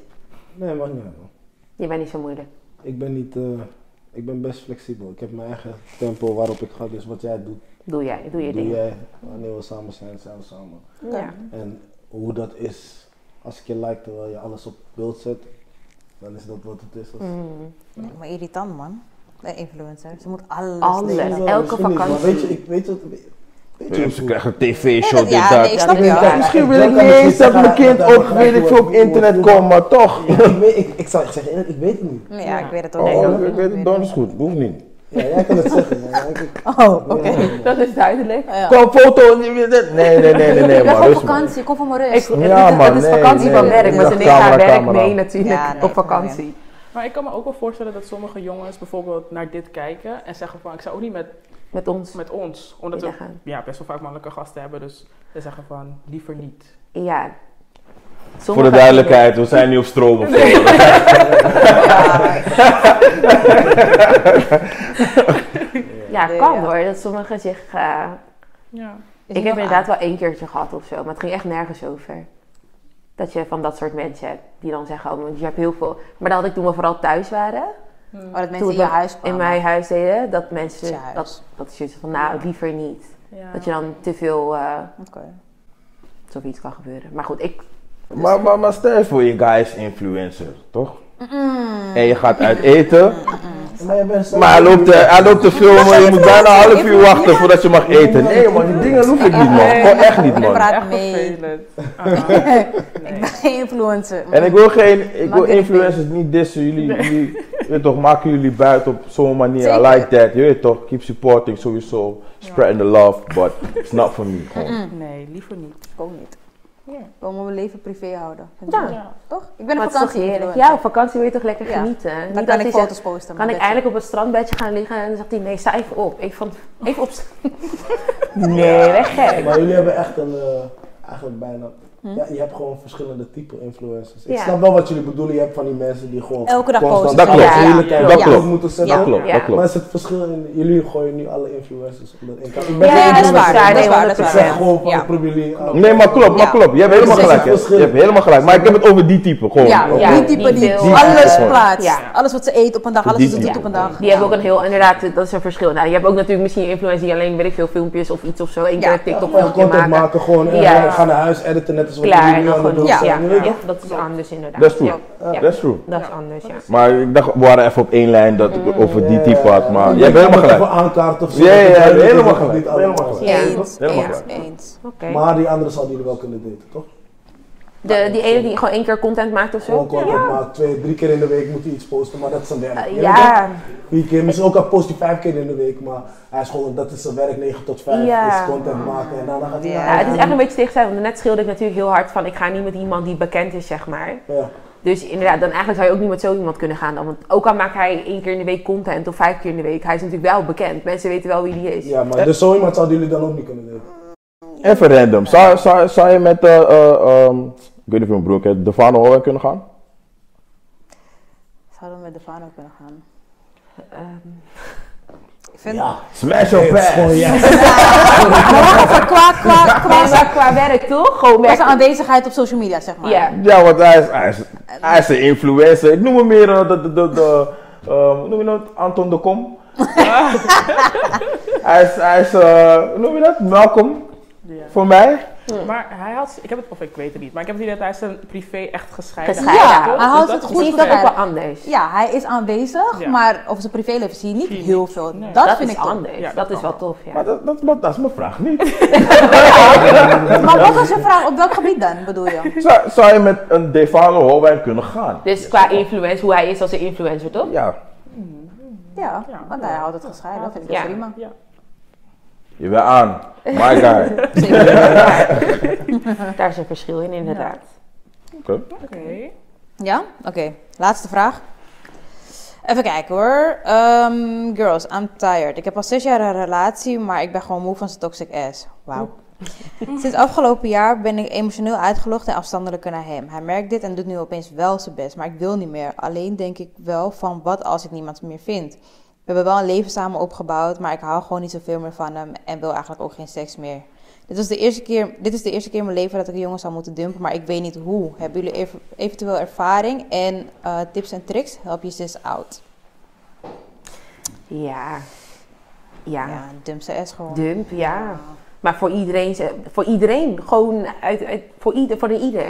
Speaker 7: Nee, mag niet uit, man.
Speaker 1: Je bent niet zo moeilijk.
Speaker 7: Ik ben niet... eh, ik ben best flexibel. Ik heb mijn eigen tempo waarop ik ga. Dus wat jij doet,
Speaker 1: Doe jij, doe je
Speaker 7: doe
Speaker 1: ding.
Speaker 7: jij. Wanneer we samen zijn, zijn we samen.
Speaker 1: Ja.
Speaker 7: En hoe dat is, als ik je like terwijl je alles op beeld zet, dan is dat wat het is. Als...
Speaker 4: Mm. Nee, maar irritant, man. De influencer. Ze moet alles,
Speaker 1: Alles.
Speaker 4: delen.
Speaker 7: Misschien wel,
Speaker 1: elke
Speaker 7: misschien niet, maar
Speaker 1: vakantie.
Speaker 7: Weet je, ik weet wat... Weet je
Speaker 6: Ja,
Speaker 7: hoe-
Speaker 6: Ze krijgen een
Speaker 4: Nee,
Speaker 6: tv-show,
Speaker 4: dat-
Speaker 6: dit,
Speaker 4: ja,
Speaker 6: dat.
Speaker 4: nee, ik snap
Speaker 1: Ja,
Speaker 4: je wel.
Speaker 6: Misschien
Speaker 7: Ja,
Speaker 6: wil
Speaker 7: dan
Speaker 6: ik
Speaker 7: kan
Speaker 6: niet
Speaker 7: het
Speaker 6: eens
Speaker 7: niet
Speaker 6: dat mijn
Speaker 7: zeggen,
Speaker 6: kind
Speaker 7: dat
Speaker 6: ook,
Speaker 7: we
Speaker 6: weet ik
Speaker 7: gelijk
Speaker 6: veel, op
Speaker 7: worden,
Speaker 6: internet
Speaker 7: worden,
Speaker 6: komt, maar toch.
Speaker 7: Ik, weet, ik, ik, zou, ik zeg eerlijk, ik weet het niet.
Speaker 4: Ja, ik weet het ook.
Speaker 6: Oh,
Speaker 4: niet.
Speaker 6: ik weet het donders goed, hoeft niet.
Speaker 7: Ja, jij kan het zeggen. Ja, ik- ik-
Speaker 4: Oh, oké.
Speaker 1: Dat is duidelijk.
Speaker 4: Ja.
Speaker 6: Kom foto, nee, nee, nee, nee, nee,
Speaker 4: Ik ben
Speaker 6: maar
Speaker 4: op
Speaker 6: rust maar.
Speaker 4: vakantie, kom voor mijn
Speaker 1: Ik,
Speaker 4: rust.
Speaker 6: Ja,
Speaker 1: het,
Speaker 6: maar
Speaker 1: het is
Speaker 6: nee,
Speaker 1: vakantie
Speaker 6: nee,
Speaker 1: van
Speaker 6: nee,
Speaker 1: werk,
Speaker 6: nee.
Speaker 1: maar ze
Speaker 6: Ja,
Speaker 1: nemen haar
Speaker 6: camera,
Speaker 1: werk
Speaker 6: camera.
Speaker 1: mee natuurlijk
Speaker 4: Ja, nee,
Speaker 1: op
Speaker 4: kom
Speaker 1: vakantie.
Speaker 5: Maar ik kan me ook wel voorstellen dat sommige jongens bijvoorbeeld naar dit kijken en zeggen van ik zou ook niet met,
Speaker 1: Met ons.
Speaker 5: met ons. Omdat
Speaker 1: Ja,
Speaker 5: we ja, best wel vaak mannelijke gasten hebben, dus ze zeggen van liever niet.
Speaker 1: ja.
Speaker 6: Voor de duidelijkheid, we zijn niet op stroom of zo.
Speaker 1: Ja,
Speaker 4: Nee,
Speaker 1: kan
Speaker 4: ja.
Speaker 1: hoor. Dat sommigen zich. eh,
Speaker 5: Ja.
Speaker 4: Is
Speaker 1: ik
Speaker 4: die
Speaker 1: heb
Speaker 4: nog
Speaker 1: inderdaad wel één keertje gehad of zo, maar het ging echt nergens over. Dat je van dat soort mensen hebt die dan zeggen: Oh, want je hebt heel veel. Maar dat had ik toen we vooral thuis waren.
Speaker 4: aan? Oh, dat mensen
Speaker 1: toen
Speaker 4: in je
Speaker 1: we
Speaker 4: huis kwamen.
Speaker 1: In mijn huis deden dat mensen.
Speaker 4: Ja, huis.
Speaker 1: Dat, dat is zoiets van: Nou, liever niet.
Speaker 5: Ja.
Speaker 1: Dat je dan te veel. eh
Speaker 4: Oké.
Speaker 1: zoiets kan gebeuren. Maar goed, ik.
Speaker 6: Maar, maar, maar stel je voor, je guy is influencer, toch? En je gaat uit eten,
Speaker 7: Maar jij bent zo-
Speaker 6: maar hij loopt, eh, hij loopt te filmen, je moet bijna een half uur wachten voordat je mag eten. Nee man, die dingen hoef ik niet man, gewoon echt niet
Speaker 4: Ik
Speaker 6: man.
Speaker 4: praat
Speaker 5: Echt
Speaker 4: mee.
Speaker 5: vervelend. Ah,
Speaker 4: Ik
Speaker 5: nee.
Speaker 4: ben geen influencer.
Speaker 6: En ik wil geen, ik
Speaker 4: Maak
Speaker 6: wil
Speaker 4: het niet.
Speaker 6: influencers niet dissen, jullie, jullie je weet toch, maken jullie buiten op zo'n manier, I
Speaker 4: Zeker.
Speaker 6: like that, je weet toch, keep supporting sowieso, spreading the love, but it's not for me gewoon.
Speaker 5: nee, liever niet.
Speaker 4: Ik ook niet.
Speaker 5: Ja.
Speaker 4: Ik wil mijn leven privé houden.
Speaker 1: Ja.
Speaker 4: Toch? Ik ben
Speaker 1: Maar het
Speaker 4: op
Speaker 1: is toch
Speaker 4: vakantie
Speaker 1: heerlijk.
Speaker 4: influencer.
Speaker 1: Ja, op vakantie wil je toch lekker
Speaker 4: Ja.
Speaker 1: genieten. Niet
Speaker 4: Dan
Speaker 1: dat
Speaker 4: kan ik
Speaker 1: hij
Speaker 4: foto's
Speaker 1: zegt,
Speaker 4: posten.
Speaker 1: Kan
Speaker 4: maar
Speaker 1: ik
Speaker 4: dat is-
Speaker 1: eindelijk op het strandbedje gaan liggen? En dan zegt hij, nee, sta even op. Ik van, even op. nee, weg gek.
Speaker 7: Maar jullie hebben echt een, eh, eigenlijk bijna...
Speaker 4: Hm?
Speaker 7: Ja, je hebt gewoon verschillende type influencers. Ik
Speaker 1: Ja.
Speaker 7: snap wel wat jullie bedoelen. Je hebt van die mensen die gewoon...
Speaker 4: Elke dag
Speaker 7: constant
Speaker 4: posten.
Speaker 6: Dat klopt,
Speaker 1: Ja.
Speaker 7: eerlijk en
Speaker 6: dat
Speaker 7: goed
Speaker 6: klopt.
Speaker 7: moeten zeggen.
Speaker 6: Dat klopt,
Speaker 1: Ja.
Speaker 6: dat klopt.
Speaker 7: Maar is het verschil in... Jullie gooien nu alle influencers onder één kant. Ik
Speaker 4: Ja,
Speaker 7: ben geen
Speaker 4: dat is
Speaker 7: influencer,
Speaker 4: waar. Dat is
Speaker 1: nee,
Speaker 4: waar. Dat
Speaker 7: Ik
Speaker 4: is
Speaker 7: zeg
Speaker 4: waar.
Speaker 7: gewoon van,
Speaker 4: Ja.
Speaker 7: ik probeer jullie... aan-
Speaker 6: Nee, maar klopt, maar
Speaker 4: Ja.
Speaker 6: klopt. Je hebt helemaal
Speaker 7: Er is
Speaker 6: gelijk. hè.
Speaker 7: een verschil.
Speaker 6: Je hebt helemaal gelijk. Maar ik heb het over die type gewoon.
Speaker 4: Ja,
Speaker 1: Ja,
Speaker 4: die type
Speaker 1: niet
Speaker 4: die
Speaker 1: veel.
Speaker 4: alles
Speaker 6: Ja.
Speaker 4: plaatst.
Speaker 1: Ja.
Speaker 4: Alles wat ze eet op een dag, alles
Speaker 6: Die
Speaker 4: wat ze
Speaker 6: type.
Speaker 4: doet op een dag.
Speaker 1: Die hebben ook een heel, inderdaad, dat is een verschil. Nou, je hebt ook natuurlijk misschien influencers die alleen, weet ik veel, filmpjes of iets of zo. Eén
Speaker 4: Ja.
Speaker 1: keer een
Speaker 7: Ja,
Speaker 1: TikTok
Speaker 7: gewoon
Speaker 1: filmpje
Speaker 7: content
Speaker 1: maken.
Speaker 7: maken, gewoon. En
Speaker 1: Ja.
Speaker 7: we gaan naar huis editen, net als wat
Speaker 1: Klaar,
Speaker 7: jullie
Speaker 1: en
Speaker 7: nu
Speaker 1: dan
Speaker 7: aan het
Speaker 1: gewoon.
Speaker 7: doen
Speaker 1: Ja,
Speaker 7: zijn.
Speaker 1: ja,
Speaker 7: Weet je?
Speaker 1: dat is anders inderdaad.
Speaker 6: Dat is true.
Speaker 1: Ja, Ja.
Speaker 6: Dat is true.
Speaker 1: dat is anders, ja.
Speaker 6: Maar ik dacht, we waren even op één lijn dat ik het over die type had. Maar
Speaker 7: Ik
Speaker 6: je hebt
Speaker 7: kan
Speaker 6: helemaal gelijk.
Speaker 7: het Even aankaarten of zo.
Speaker 6: Ja, ja,
Speaker 7: dat het
Speaker 6: ja,
Speaker 7: duidelijk is
Speaker 6: helemaal
Speaker 7: dat het
Speaker 6: gelijk.
Speaker 7: niet allemaal
Speaker 6: Helemaal
Speaker 7: is.
Speaker 6: gelijk.
Speaker 4: Eens,
Speaker 6: Helemaal
Speaker 4: eens,
Speaker 6: gelijk.
Speaker 4: eens.
Speaker 1: Oké.
Speaker 7: Maar die anderen zouden jullie wel kunnen daten, toch?
Speaker 1: De- Die ene die gewoon één keer content maakt of
Speaker 7: Gewoon
Speaker 1: zo?
Speaker 7: content maar twee, drie keer in de week moet hij iets posten, maar dat is zijn werk.
Speaker 1: Eh,
Speaker 7: Je weet
Speaker 1: Ja,
Speaker 7: toch? Vier keer, misschien ook al post hij vijf keer in de week, maar hij is gewoon, dat is zijn werk, 9 tot 5
Speaker 1: Ja.
Speaker 7: is content maken en daarna gaat hij
Speaker 4: Ja,
Speaker 7: naar
Speaker 1: Ja, het
Speaker 7: huis.
Speaker 1: is echt een beetje tegen zijn, want net schreeuwde ik natuurlijk heel hard van ik ga niet met iemand die bekend is, zeg maar.
Speaker 7: Ja.
Speaker 1: Dus inderdaad, dan eigenlijk zou je ook niet met zo iemand kunnen gaan dan. Want ook al maakt hij één keer in de week content of vijf keer in de week, hij is natuurlijk wel bekend. Mensen weten wel wie die is.
Speaker 7: Ja, maar dus zo iemand zouden jullie dan ook niet kunnen daten.
Speaker 6: Even random. Zou, zou, zou je met, eh, eh, ehm, ik weet niet of je een broek hebt, Devano Holler kunnen gaan?
Speaker 4: Zouden we met de Fano kunnen gaan?
Speaker 1: Ehm,
Speaker 4: Ik vind
Speaker 7: Ja.
Speaker 6: Smash your
Speaker 7: Het is
Speaker 6: pass.
Speaker 7: gewoon ja.
Speaker 4: qua, qua,
Speaker 1: nee,
Speaker 4: qua,
Speaker 1: maar qua werk toch? Gewoon
Speaker 4: qua zijn
Speaker 1: werk.
Speaker 4: aanwezigheid op social media, zeg maar.
Speaker 1: Ja.
Speaker 6: Ja, want hij is, hij is, hij is een influencer. Ik noem hem meer eh, de, de, de, de eh, hoe noem je dat? Anton de Kom. hij is, hij is eh, hoe noem je dat? Welkom
Speaker 5: Ja.
Speaker 6: voor mij.
Speaker 5: Maar hij had, ik heb het, of ik weet het niet, maar ik heb het idee dat hij zijn privé echt gescheiden
Speaker 1: Gescheiden. Ja,
Speaker 5: toch?
Speaker 4: hij
Speaker 5: Dus
Speaker 4: houdt
Speaker 5: dat
Speaker 4: het
Speaker 5: is
Speaker 4: goed
Speaker 1: Misschien is
Speaker 5: oké.
Speaker 1: dat ook wel anders.
Speaker 4: Ja, hij is aanwezig,
Speaker 5: Ja.
Speaker 4: maar over zijn privéleven zie je niet
Speaker 5: Zie je
Speaker 4: heel
Speaker 5: niet.
Speaker 4: veel.
Speaker 5: Nee.
Speaker 4: Dat,
Speaker 1: Dat
Speaker 4: vind
Speaker 1: is
Speaker 4: ik tof.
Speaker 1: anders.
Speaker 5: Ja,
Speaker 1: dat is wel tof, ja.
Speaker 6: Maar dat, dat, dat, dat is mijn vraag niet.
Speaker 4: Maar wat was je vraag? Op welk gebied dan, bedoel je?
Speaker 6: Zou, zou je met een Devano Holwijn kunnen gaan?
Speaker 1: Dus qua influence, hoe hij is als een influencer, toch?
Speaker 6: Ja.
Speaker 4: Ja,
Speaker 5: Ja.
Speaker 4: want hij houdt het gescheiden. Dat vind ik
Speaker 1: Ja.
Speaker 4: best prima.
Speaker 5: Ja.
Speaker 6: Je bent aan. My guy.
Speaker 1: Daar is een verschil in, inderdaad.
Speaker 6: Oké.
Speaker 5: Oké.
Speaker 4: Ja? Oké, laatste vraag. Even kijken hoor. Ehm, girls, I'm tired. Ik heb al zes jaar een relatie, maar ik ben gewoon moe van zijn toxic ass. Wauw. Sinds afgelopen jaar ben ik emotioneel uitgelogd en afstandelijker naar hem. Hij merkt dit en doet nu opeens wel zijn best, maar ik wil niet meer. Alleen denk ik wel van wat als ik niemand meer vind. We hebben wel een leven samen opgebouwd, maar ik hou gewoon niet zoveel meer van hem en wil eigenlijk ook geen seks meer. Dit, was de eerste keer, dit is de eerste keer in mijn leven dat ik een jongen zou moeten dumpen, maar ik weet niet hoe. Hebben jullie ev- eventueel ervaring en eh, tips en tricks? Help je zus out.
Speaker 1: Ja.
Speaker 4: Ja,
Speaker 1: Ja.
Speaker 4: dump ze S gewoon.
Speaker 1: Dump, ja. Maar voor iedereen, ze- voor iedereen, gewoon uit, uit- voor, ieder, voor een ieder.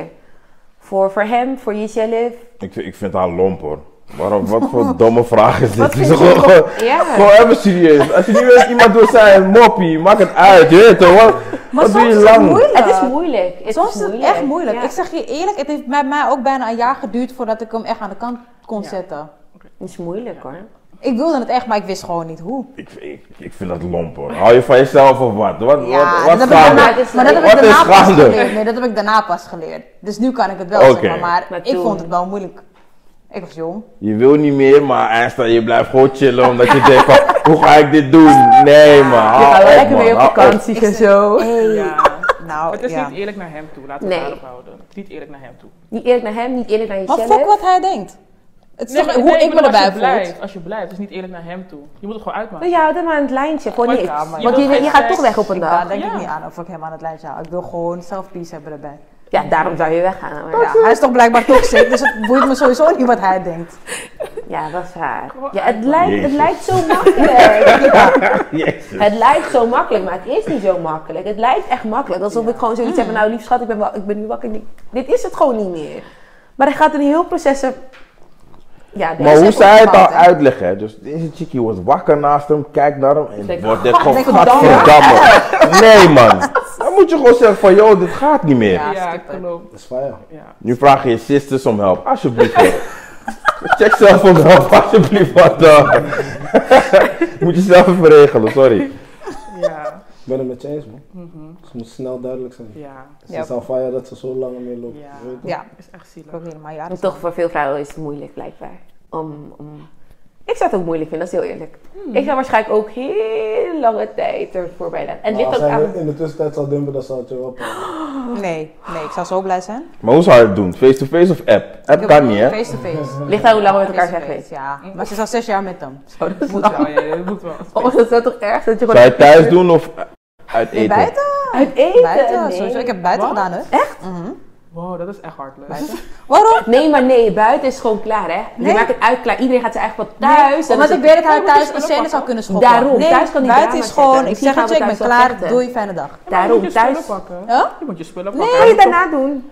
Speaker 1: Voor, voor hem, voor jezelf.
Speaker 6: Ik, vind- ik vind haar lomp hoor. Waarom, wat voor domme vraag is dit?
Speaker 1: Wat vind
Speaker 6: Zo,
Speaker 1: je-
Speaker 6: gewoon, gewoon,
Speaker 1: Ja.
Speaker 6: gewoon even serieus. Als je niet weet, iemand wil zijn moppie, maak het uit. Je weet toch, wat, wat doe je
Speaker 4: soms is het
Speaker 6: lang?
Speaker 4: moeilijk.
Speaker 1: Het is moeilijk. Het
Speaker 4: Soms is het echt moeilijk.
Speaker 1: Ja.
Speaker 4: Ik zeg je eerlijk, het heeft bij mij ook bijna een jaar geduurd voordat ik hem echt aan de kant kon zetten.
Speaker 1: Het is moeilijk hoor.
Speaker 4: Ik wilde het echt, maar ik wist gewoon niet hoe.
Speaker 6: Ik, ik, ik vind dat lomp hoor. Hou je van jezelf of wat? Wat,
Speaker 4: Ja, dat
Speaker 6: wat, wat
Speaker 4: heb ik
Speaker 6: gaande?
Speaker 4: daarna, dus- maar dat heb ik
Speaker 6: Wat is
Speaker 4: daarna pas
Speaker 6: gaande?
Speaker 4: geleerd. Nee, dat heb ik daarna pas geleerd. Dus nu kan ik het wel,
Speaker 6: Oké.
Speaker 4: zeg maar. Maar,
Speaker 1: Maar
Speaker 4: ik
Speaker 1: toen-
Speaker 4: vond het wel moeilijk. Ik was jong.
Speaker 6: Je wil niet meer, maar Einstein, je blijft gewoon chillen omdat je denkt van, hoe ga ik dit doen? Nee man, hou
Speaker 1: Ga wel
Speaker 6: op,
Speaker 1: lekker
Speaker 6: man,
Speaker 1: mee op
Speaker 6: hou op.
Speaker 1: vakantie en zo.
Speaker 4: Hey.
Speaker 5: Ja.
Speaker 4: Nou,
Speaker 5: Het is
Speaker 4: ja.
Speaker 5: niet eerlijk naar hem toe, laten we
Speaker 1: Nee.
Speaker 5: het daarop houden. Het is niet eerlijk naar hem toe.
Speaker 1: Niet eerlijk naar hem, niet eerlijk naar
Speaker 4: Maar
Speaker 1: jezelf.
Speaker 4: fuck wat hij denkt. Het is
Speaker 5: Nee,
Speaker 4: toch
Speaker 5: maar-
Speaker 4: hoe
Speaker 5: nee,
Speaker 4: ik me
Speaker 5: bedoel, als
Speaker 4: erbij
Speaker 5: je
Speaker 4: voel.
Speaker 5: blijft, Als je blijft, het is niet eerlijk naar hem toe. Je moet het gewoon
Speaker 1: Nou
Speaker 5: uitmaken.
Speaker 1: ja, hou hem aan het lijntje, voor
Speaker 5: Maar
Speaker 1: niks.
Speaker 5: ja, maar je
Speaker 1: Want
Speaker 5: wil
Speaker 1: je, je
Speaker 5: geen
Speaker 1: gaat
Speaker 5: seks.
Speaker 1: toch weg op een
Speaker 4: Daar
Speaker 1: dag.
Speaker 4: denk ik
Speaker 5: Ja.
Speaker 4: niet aan of ik hem aan het lijntje hou. Ik wil gewoon zelf peace hebben erbij.
Speaker 1: Ja, daarom zou je weggaan. Maar
Speaker 4: Ja, hij is toch blijkbaar toxic, dus het boeit me sowieso niet wat hij denkt.
Speaker 1: ja, dat is waar. Ja, het, lijkt, het
Speaker 6: Jezus.
Speaker 1: lijkt zo makkelijk. Ja.
Speaker 6: Jezus.
Speaker 1: Het lijkt zo makkelijk, maar het is niet zo makkelijk. Het lijkt echt makkelijk. Alsof ik gewoon zoiets heb van, nou lief schat, ik ben, wa- ik ben nu wakker. Dit- Dit is het gewoon niet meer. Maar er gaat een heel proces... op- Ja,
Speaker 6: Maar hoe zij het al
Speaker 4: opgebouwd, hè?
Speaker 6: uitleggen, hè? dus deze chickie was wakker naast hem, kijkt naar hem en
Speaker 1: Denkt,
Speaker 4: ah,
Speaker 6: wordt dit gewoon
Speaker 1: godverdamme.
Speaker 6: godverdamme. Nee man, dan moet je gewoon zeggen van joh, dit gaat niet meer.
Speaker 4: Ja,
Speaker 5: Ja,
Speaker 4: skip it.
Speaker 5: klopt.
Speaker 7: Dat is fire.
Speaker 5: Ja.
Speaker 6: Nu vraag je je sisters om help, alsjeblieft. joh. Check zelf om hulp, alsjeblieft wat dan. moet je zelf even regelen, sorry.
Speaker 5: Ja.
Speaker 7: Ik ben het met je eens, man.
Speaker 1: Mhm.
Speaker 7: Dus het moet snel duidelijk zijn.
Speaker 5: Ja.
Speaker 7: Dus
Speaker 4: Ja.
Speaker 7: Het is al fire dat ze zo lang mee lopen.
Speaker 5: Ja.
Speaker 7: weet je toch?
Speaker 4: Ja,
Speaker 5: Is echt
Speaker 4: ik
Speaker 5: zielig.
Speaker 4: ook helemaal ja.
Speaker 1: En
Speaker 4: dat-
Speaker 1: toch voor veel vrouwen is het moeilijk, blijkbaar. Om, om... Ik zou het ook moeilijk vinden, dat is heel eerlijk. Ik zou waarschijnlijk ook heel lange tijd er voorbij laten. En het
Speaker 7: Maar
Speaker 1: ligt
Speaker 7: als
Speaker 1: ook
Speaker 7: hij
Speaker 1: aan...
Speaker 7: in de tussentijd zal dumpen, dan zal het je wel pakken.
Speaker 4: Nee, nee, ik zou zo blij zijn.
Speaker 6: Maar hoe zou je het doen? Face-to-face of app? App kan niet hè?
Speaker 4: Face-to-face.
Speaker 1: Ligt aan hoe lang we met elkaar zijn
Speaker 4: Face-to-face,
Speaker 1: geweest.
Speaker 4: Ja, maar ze is al zes jaar met hem.
Speaker 1: Zo, dat is
Speaker 5: Moet
Speaker 1: lang.
Speaker 5: wel, ja, dat moet wel.
Speaker 1: Oh, dat is toch erg dat je gewoon...
Speaker 6: Zou je thuis doen of uit
Speaker 4: Nee,
Speaker 6: eten?
Speaker 4: buiten?
Speaker 1: Uit eten?
Speaker 4: Buiten,
Speaker 1: nee.
Speaker 4: sowieso. Ik heb buiten
Speaker 5: Wat?
Speaker 4: gedaan, hè.
Speaker 5: Wow, dat is echt hardless.
Speaker 4: Buiten. Waarom?
Speaker 1: Nee, maar nee, buiten is gewoon klaar, hè? Je
Speaker 4: Nee.
Speaker 1: maakt het uit klaar. Iedereen gaat zijn eigen pad thuis. Dan
Speaker 4: Omdat
Speaker 1: is
Speaker 4: ik weet dat hij
Speaker 5: Nee, maar het
Speaker 4: thuis
Speaker 5: is
Speaker 4: een
Speaker 5: wel
Speaker 4: scène
Speaker 5: apart,
Speaker 4: zou
Speaker 5: hoor.
Speaker 4: kunnen schoppen.
Speaker 1: Daarom,
Speaker 4: nee,
Speaker 1: thuis kan die
Speaker 4: buiten
Speaker 1: drama
Speaker 4: is gewoon,
Speaker 1: zetten.
Speaker 4: ik
Speaker 1: Misschien
Speaker 4: zeg
Speaker 1: gaan
Speaker 4: het je,
Speaker 1: we
Speaker 4: ik ben
Speaker 1: thuis wel
Speaker 4: klaar,
Speaker 1: vechten.
Speaker 4: doei, fijne dag.
Speaker 5: Je moet
Speaker 1: Daarom,
Speaker 5: je spullen
Speaker 1: thuis.
Speaker 5: pakken.
Speaker 4: Huh?
Speaker 5: Je moet je spullen
Speaker 4: Nee,
Speaker 5: pakken.
Speaker 1: Kan je daarna doen?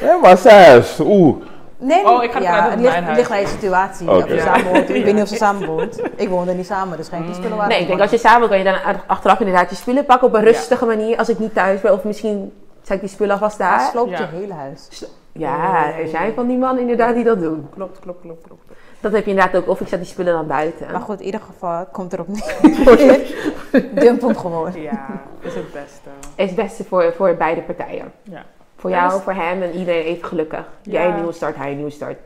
Speaker 6: Ja, maar thuis, oeh.
Speaker 4: Nee,
Speaker 5: Oh, ik ga eruit
Speaker 4: ja,
Speaker 5: op
Speaker 4: het
Speaker 5: mijn
Speaker 4: ligt, het
Speaker 5: huis.
Speaker 4: ligt naar je situatie.
Speaker 6: Oké.
Speaker 4: Of je
Speaker 6: Ja.
Speaker 4: samen woont. Ik weet niet of ze samen woont. Ik woon er niet samen, dus geen spullen waren.
Speaker 1: Nee, ik denk als je samen kan je dan achteraf inderdaad je spullen pakken op een rustige manier. Als ik niet thuis ben of misschien zet ik die spullen alvast
Speaker 4: Het
Speaker 1: daar.
Speaker 4: sloopt je
Speaker 5: Ja.
Speaker 4: hele huis.
Speaker 1: Ja, er zijn van die mannen inderdaad die dat doen.
Speaker 5: Klopt, klopt, klopt, klopt.
Speaker 1: Dat heb je inderdaad ook. Of ik zet die spullen dan buiten.
Speaker 4: Maar goed, in ieder geval, het komt erop neer. Dump hem gewoon.
Speaker 5: Ja, is het beste.
Speaker 1: is het beste voor, voor beide partijen.
Speaker 5: Ja.
Speaker 1: Voor
Speaker 5: Ja,
Speaker 1: jou,
Speaker 5: dus-
Speaker 1: voor hem en iedereen even gelukkig. Jij
Speaker 5: Ja.
Speaker 1: een nieuwe start, hij een nieuwe start.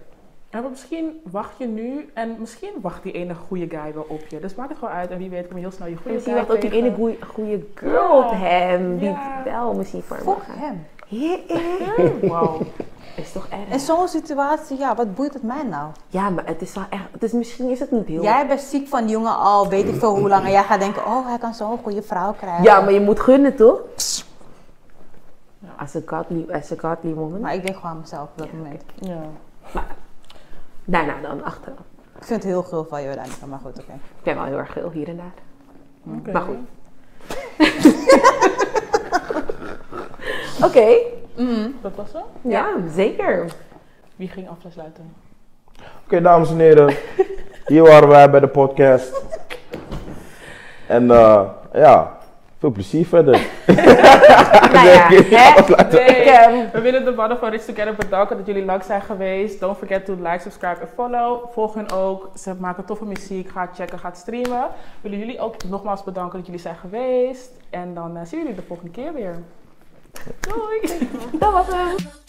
Speaker 5: Ja, maar misschien wacht je nu en misschien wacht die ene goede guy wel op je. Dus maak het gewoon uit en wie weet kom je heel snel je goede
Speaker 1: En
Speaker 5: guy
Speaker 1: misschien wacht ook die
Speaker 5: tegen.
Speaker 1: ene goeie- goede girl op
Speaker 5: Ja.
Speaker 1: hem. Die
Speaker 5: Ja.
Speaker 1: wel misschien voor hem wil
Speaker 4: Fuck
Speaker 1: gaan.
Speaker 4: hem.
Speaker 1: Ja,
Speaker 5: Wauw.
Speaker 1: is toch
Speaker 4: In
Speaker 1: erg?
Speaker 4: zo'n situatie, ja, wat boeit het mij nou?
Speaker 1: Ja, maar het is wel echt. Het is, misschien is het niet heel.
Speaker 4: Jij bent ziek van die jongen al, weet ik veel hoe lang. En jij gaat denken, oh, hij kan zo'n goede vrouw krijgen.
Speaker 1: Ja, maar je moet gunnen toch? Als een godly, as a godly woman.
Speaker 4: Maar ik denk gewoon aan mezelf op dat moment.
Speaker 5: Ja.
Speaker 1: Daarna nou, dan achteraf.
Speaker 4: Ik vind het heel gul van je uiteindelijk, maar goed, oké.
Speaker 1: Ik ben wel heel erg geel hier en daar.
Speaker 5: Oké.
Speaker 1: Maar goed. Oké,
Speaker 5: Dat was het.
Speaker 1: ja, zeker.
Speaker 5: Wie ging afsluiten?
Speaker 6: Oké, dames en heren. Hier waren wij bij de podcast. En eh, ja, veel plezier verder.
Speaker 1: Nou ja, hè?
Speaker 5: Nee,
Speaker 1: ehm,
Speaker 5: we willen de mannen van Rich Together bedanken dat jullie lang zijn geweest. Don't forget to like, subscribe en follow. Volg hen ook. Ze maken toffe muziek. Ga checken, ga streamen. Willen jullie ook nogmaals bedanken dat jullie zijn geweest. En dan eh, zien jullie de volgende keer weer. Doei!
Speaker 1: Dat was hem.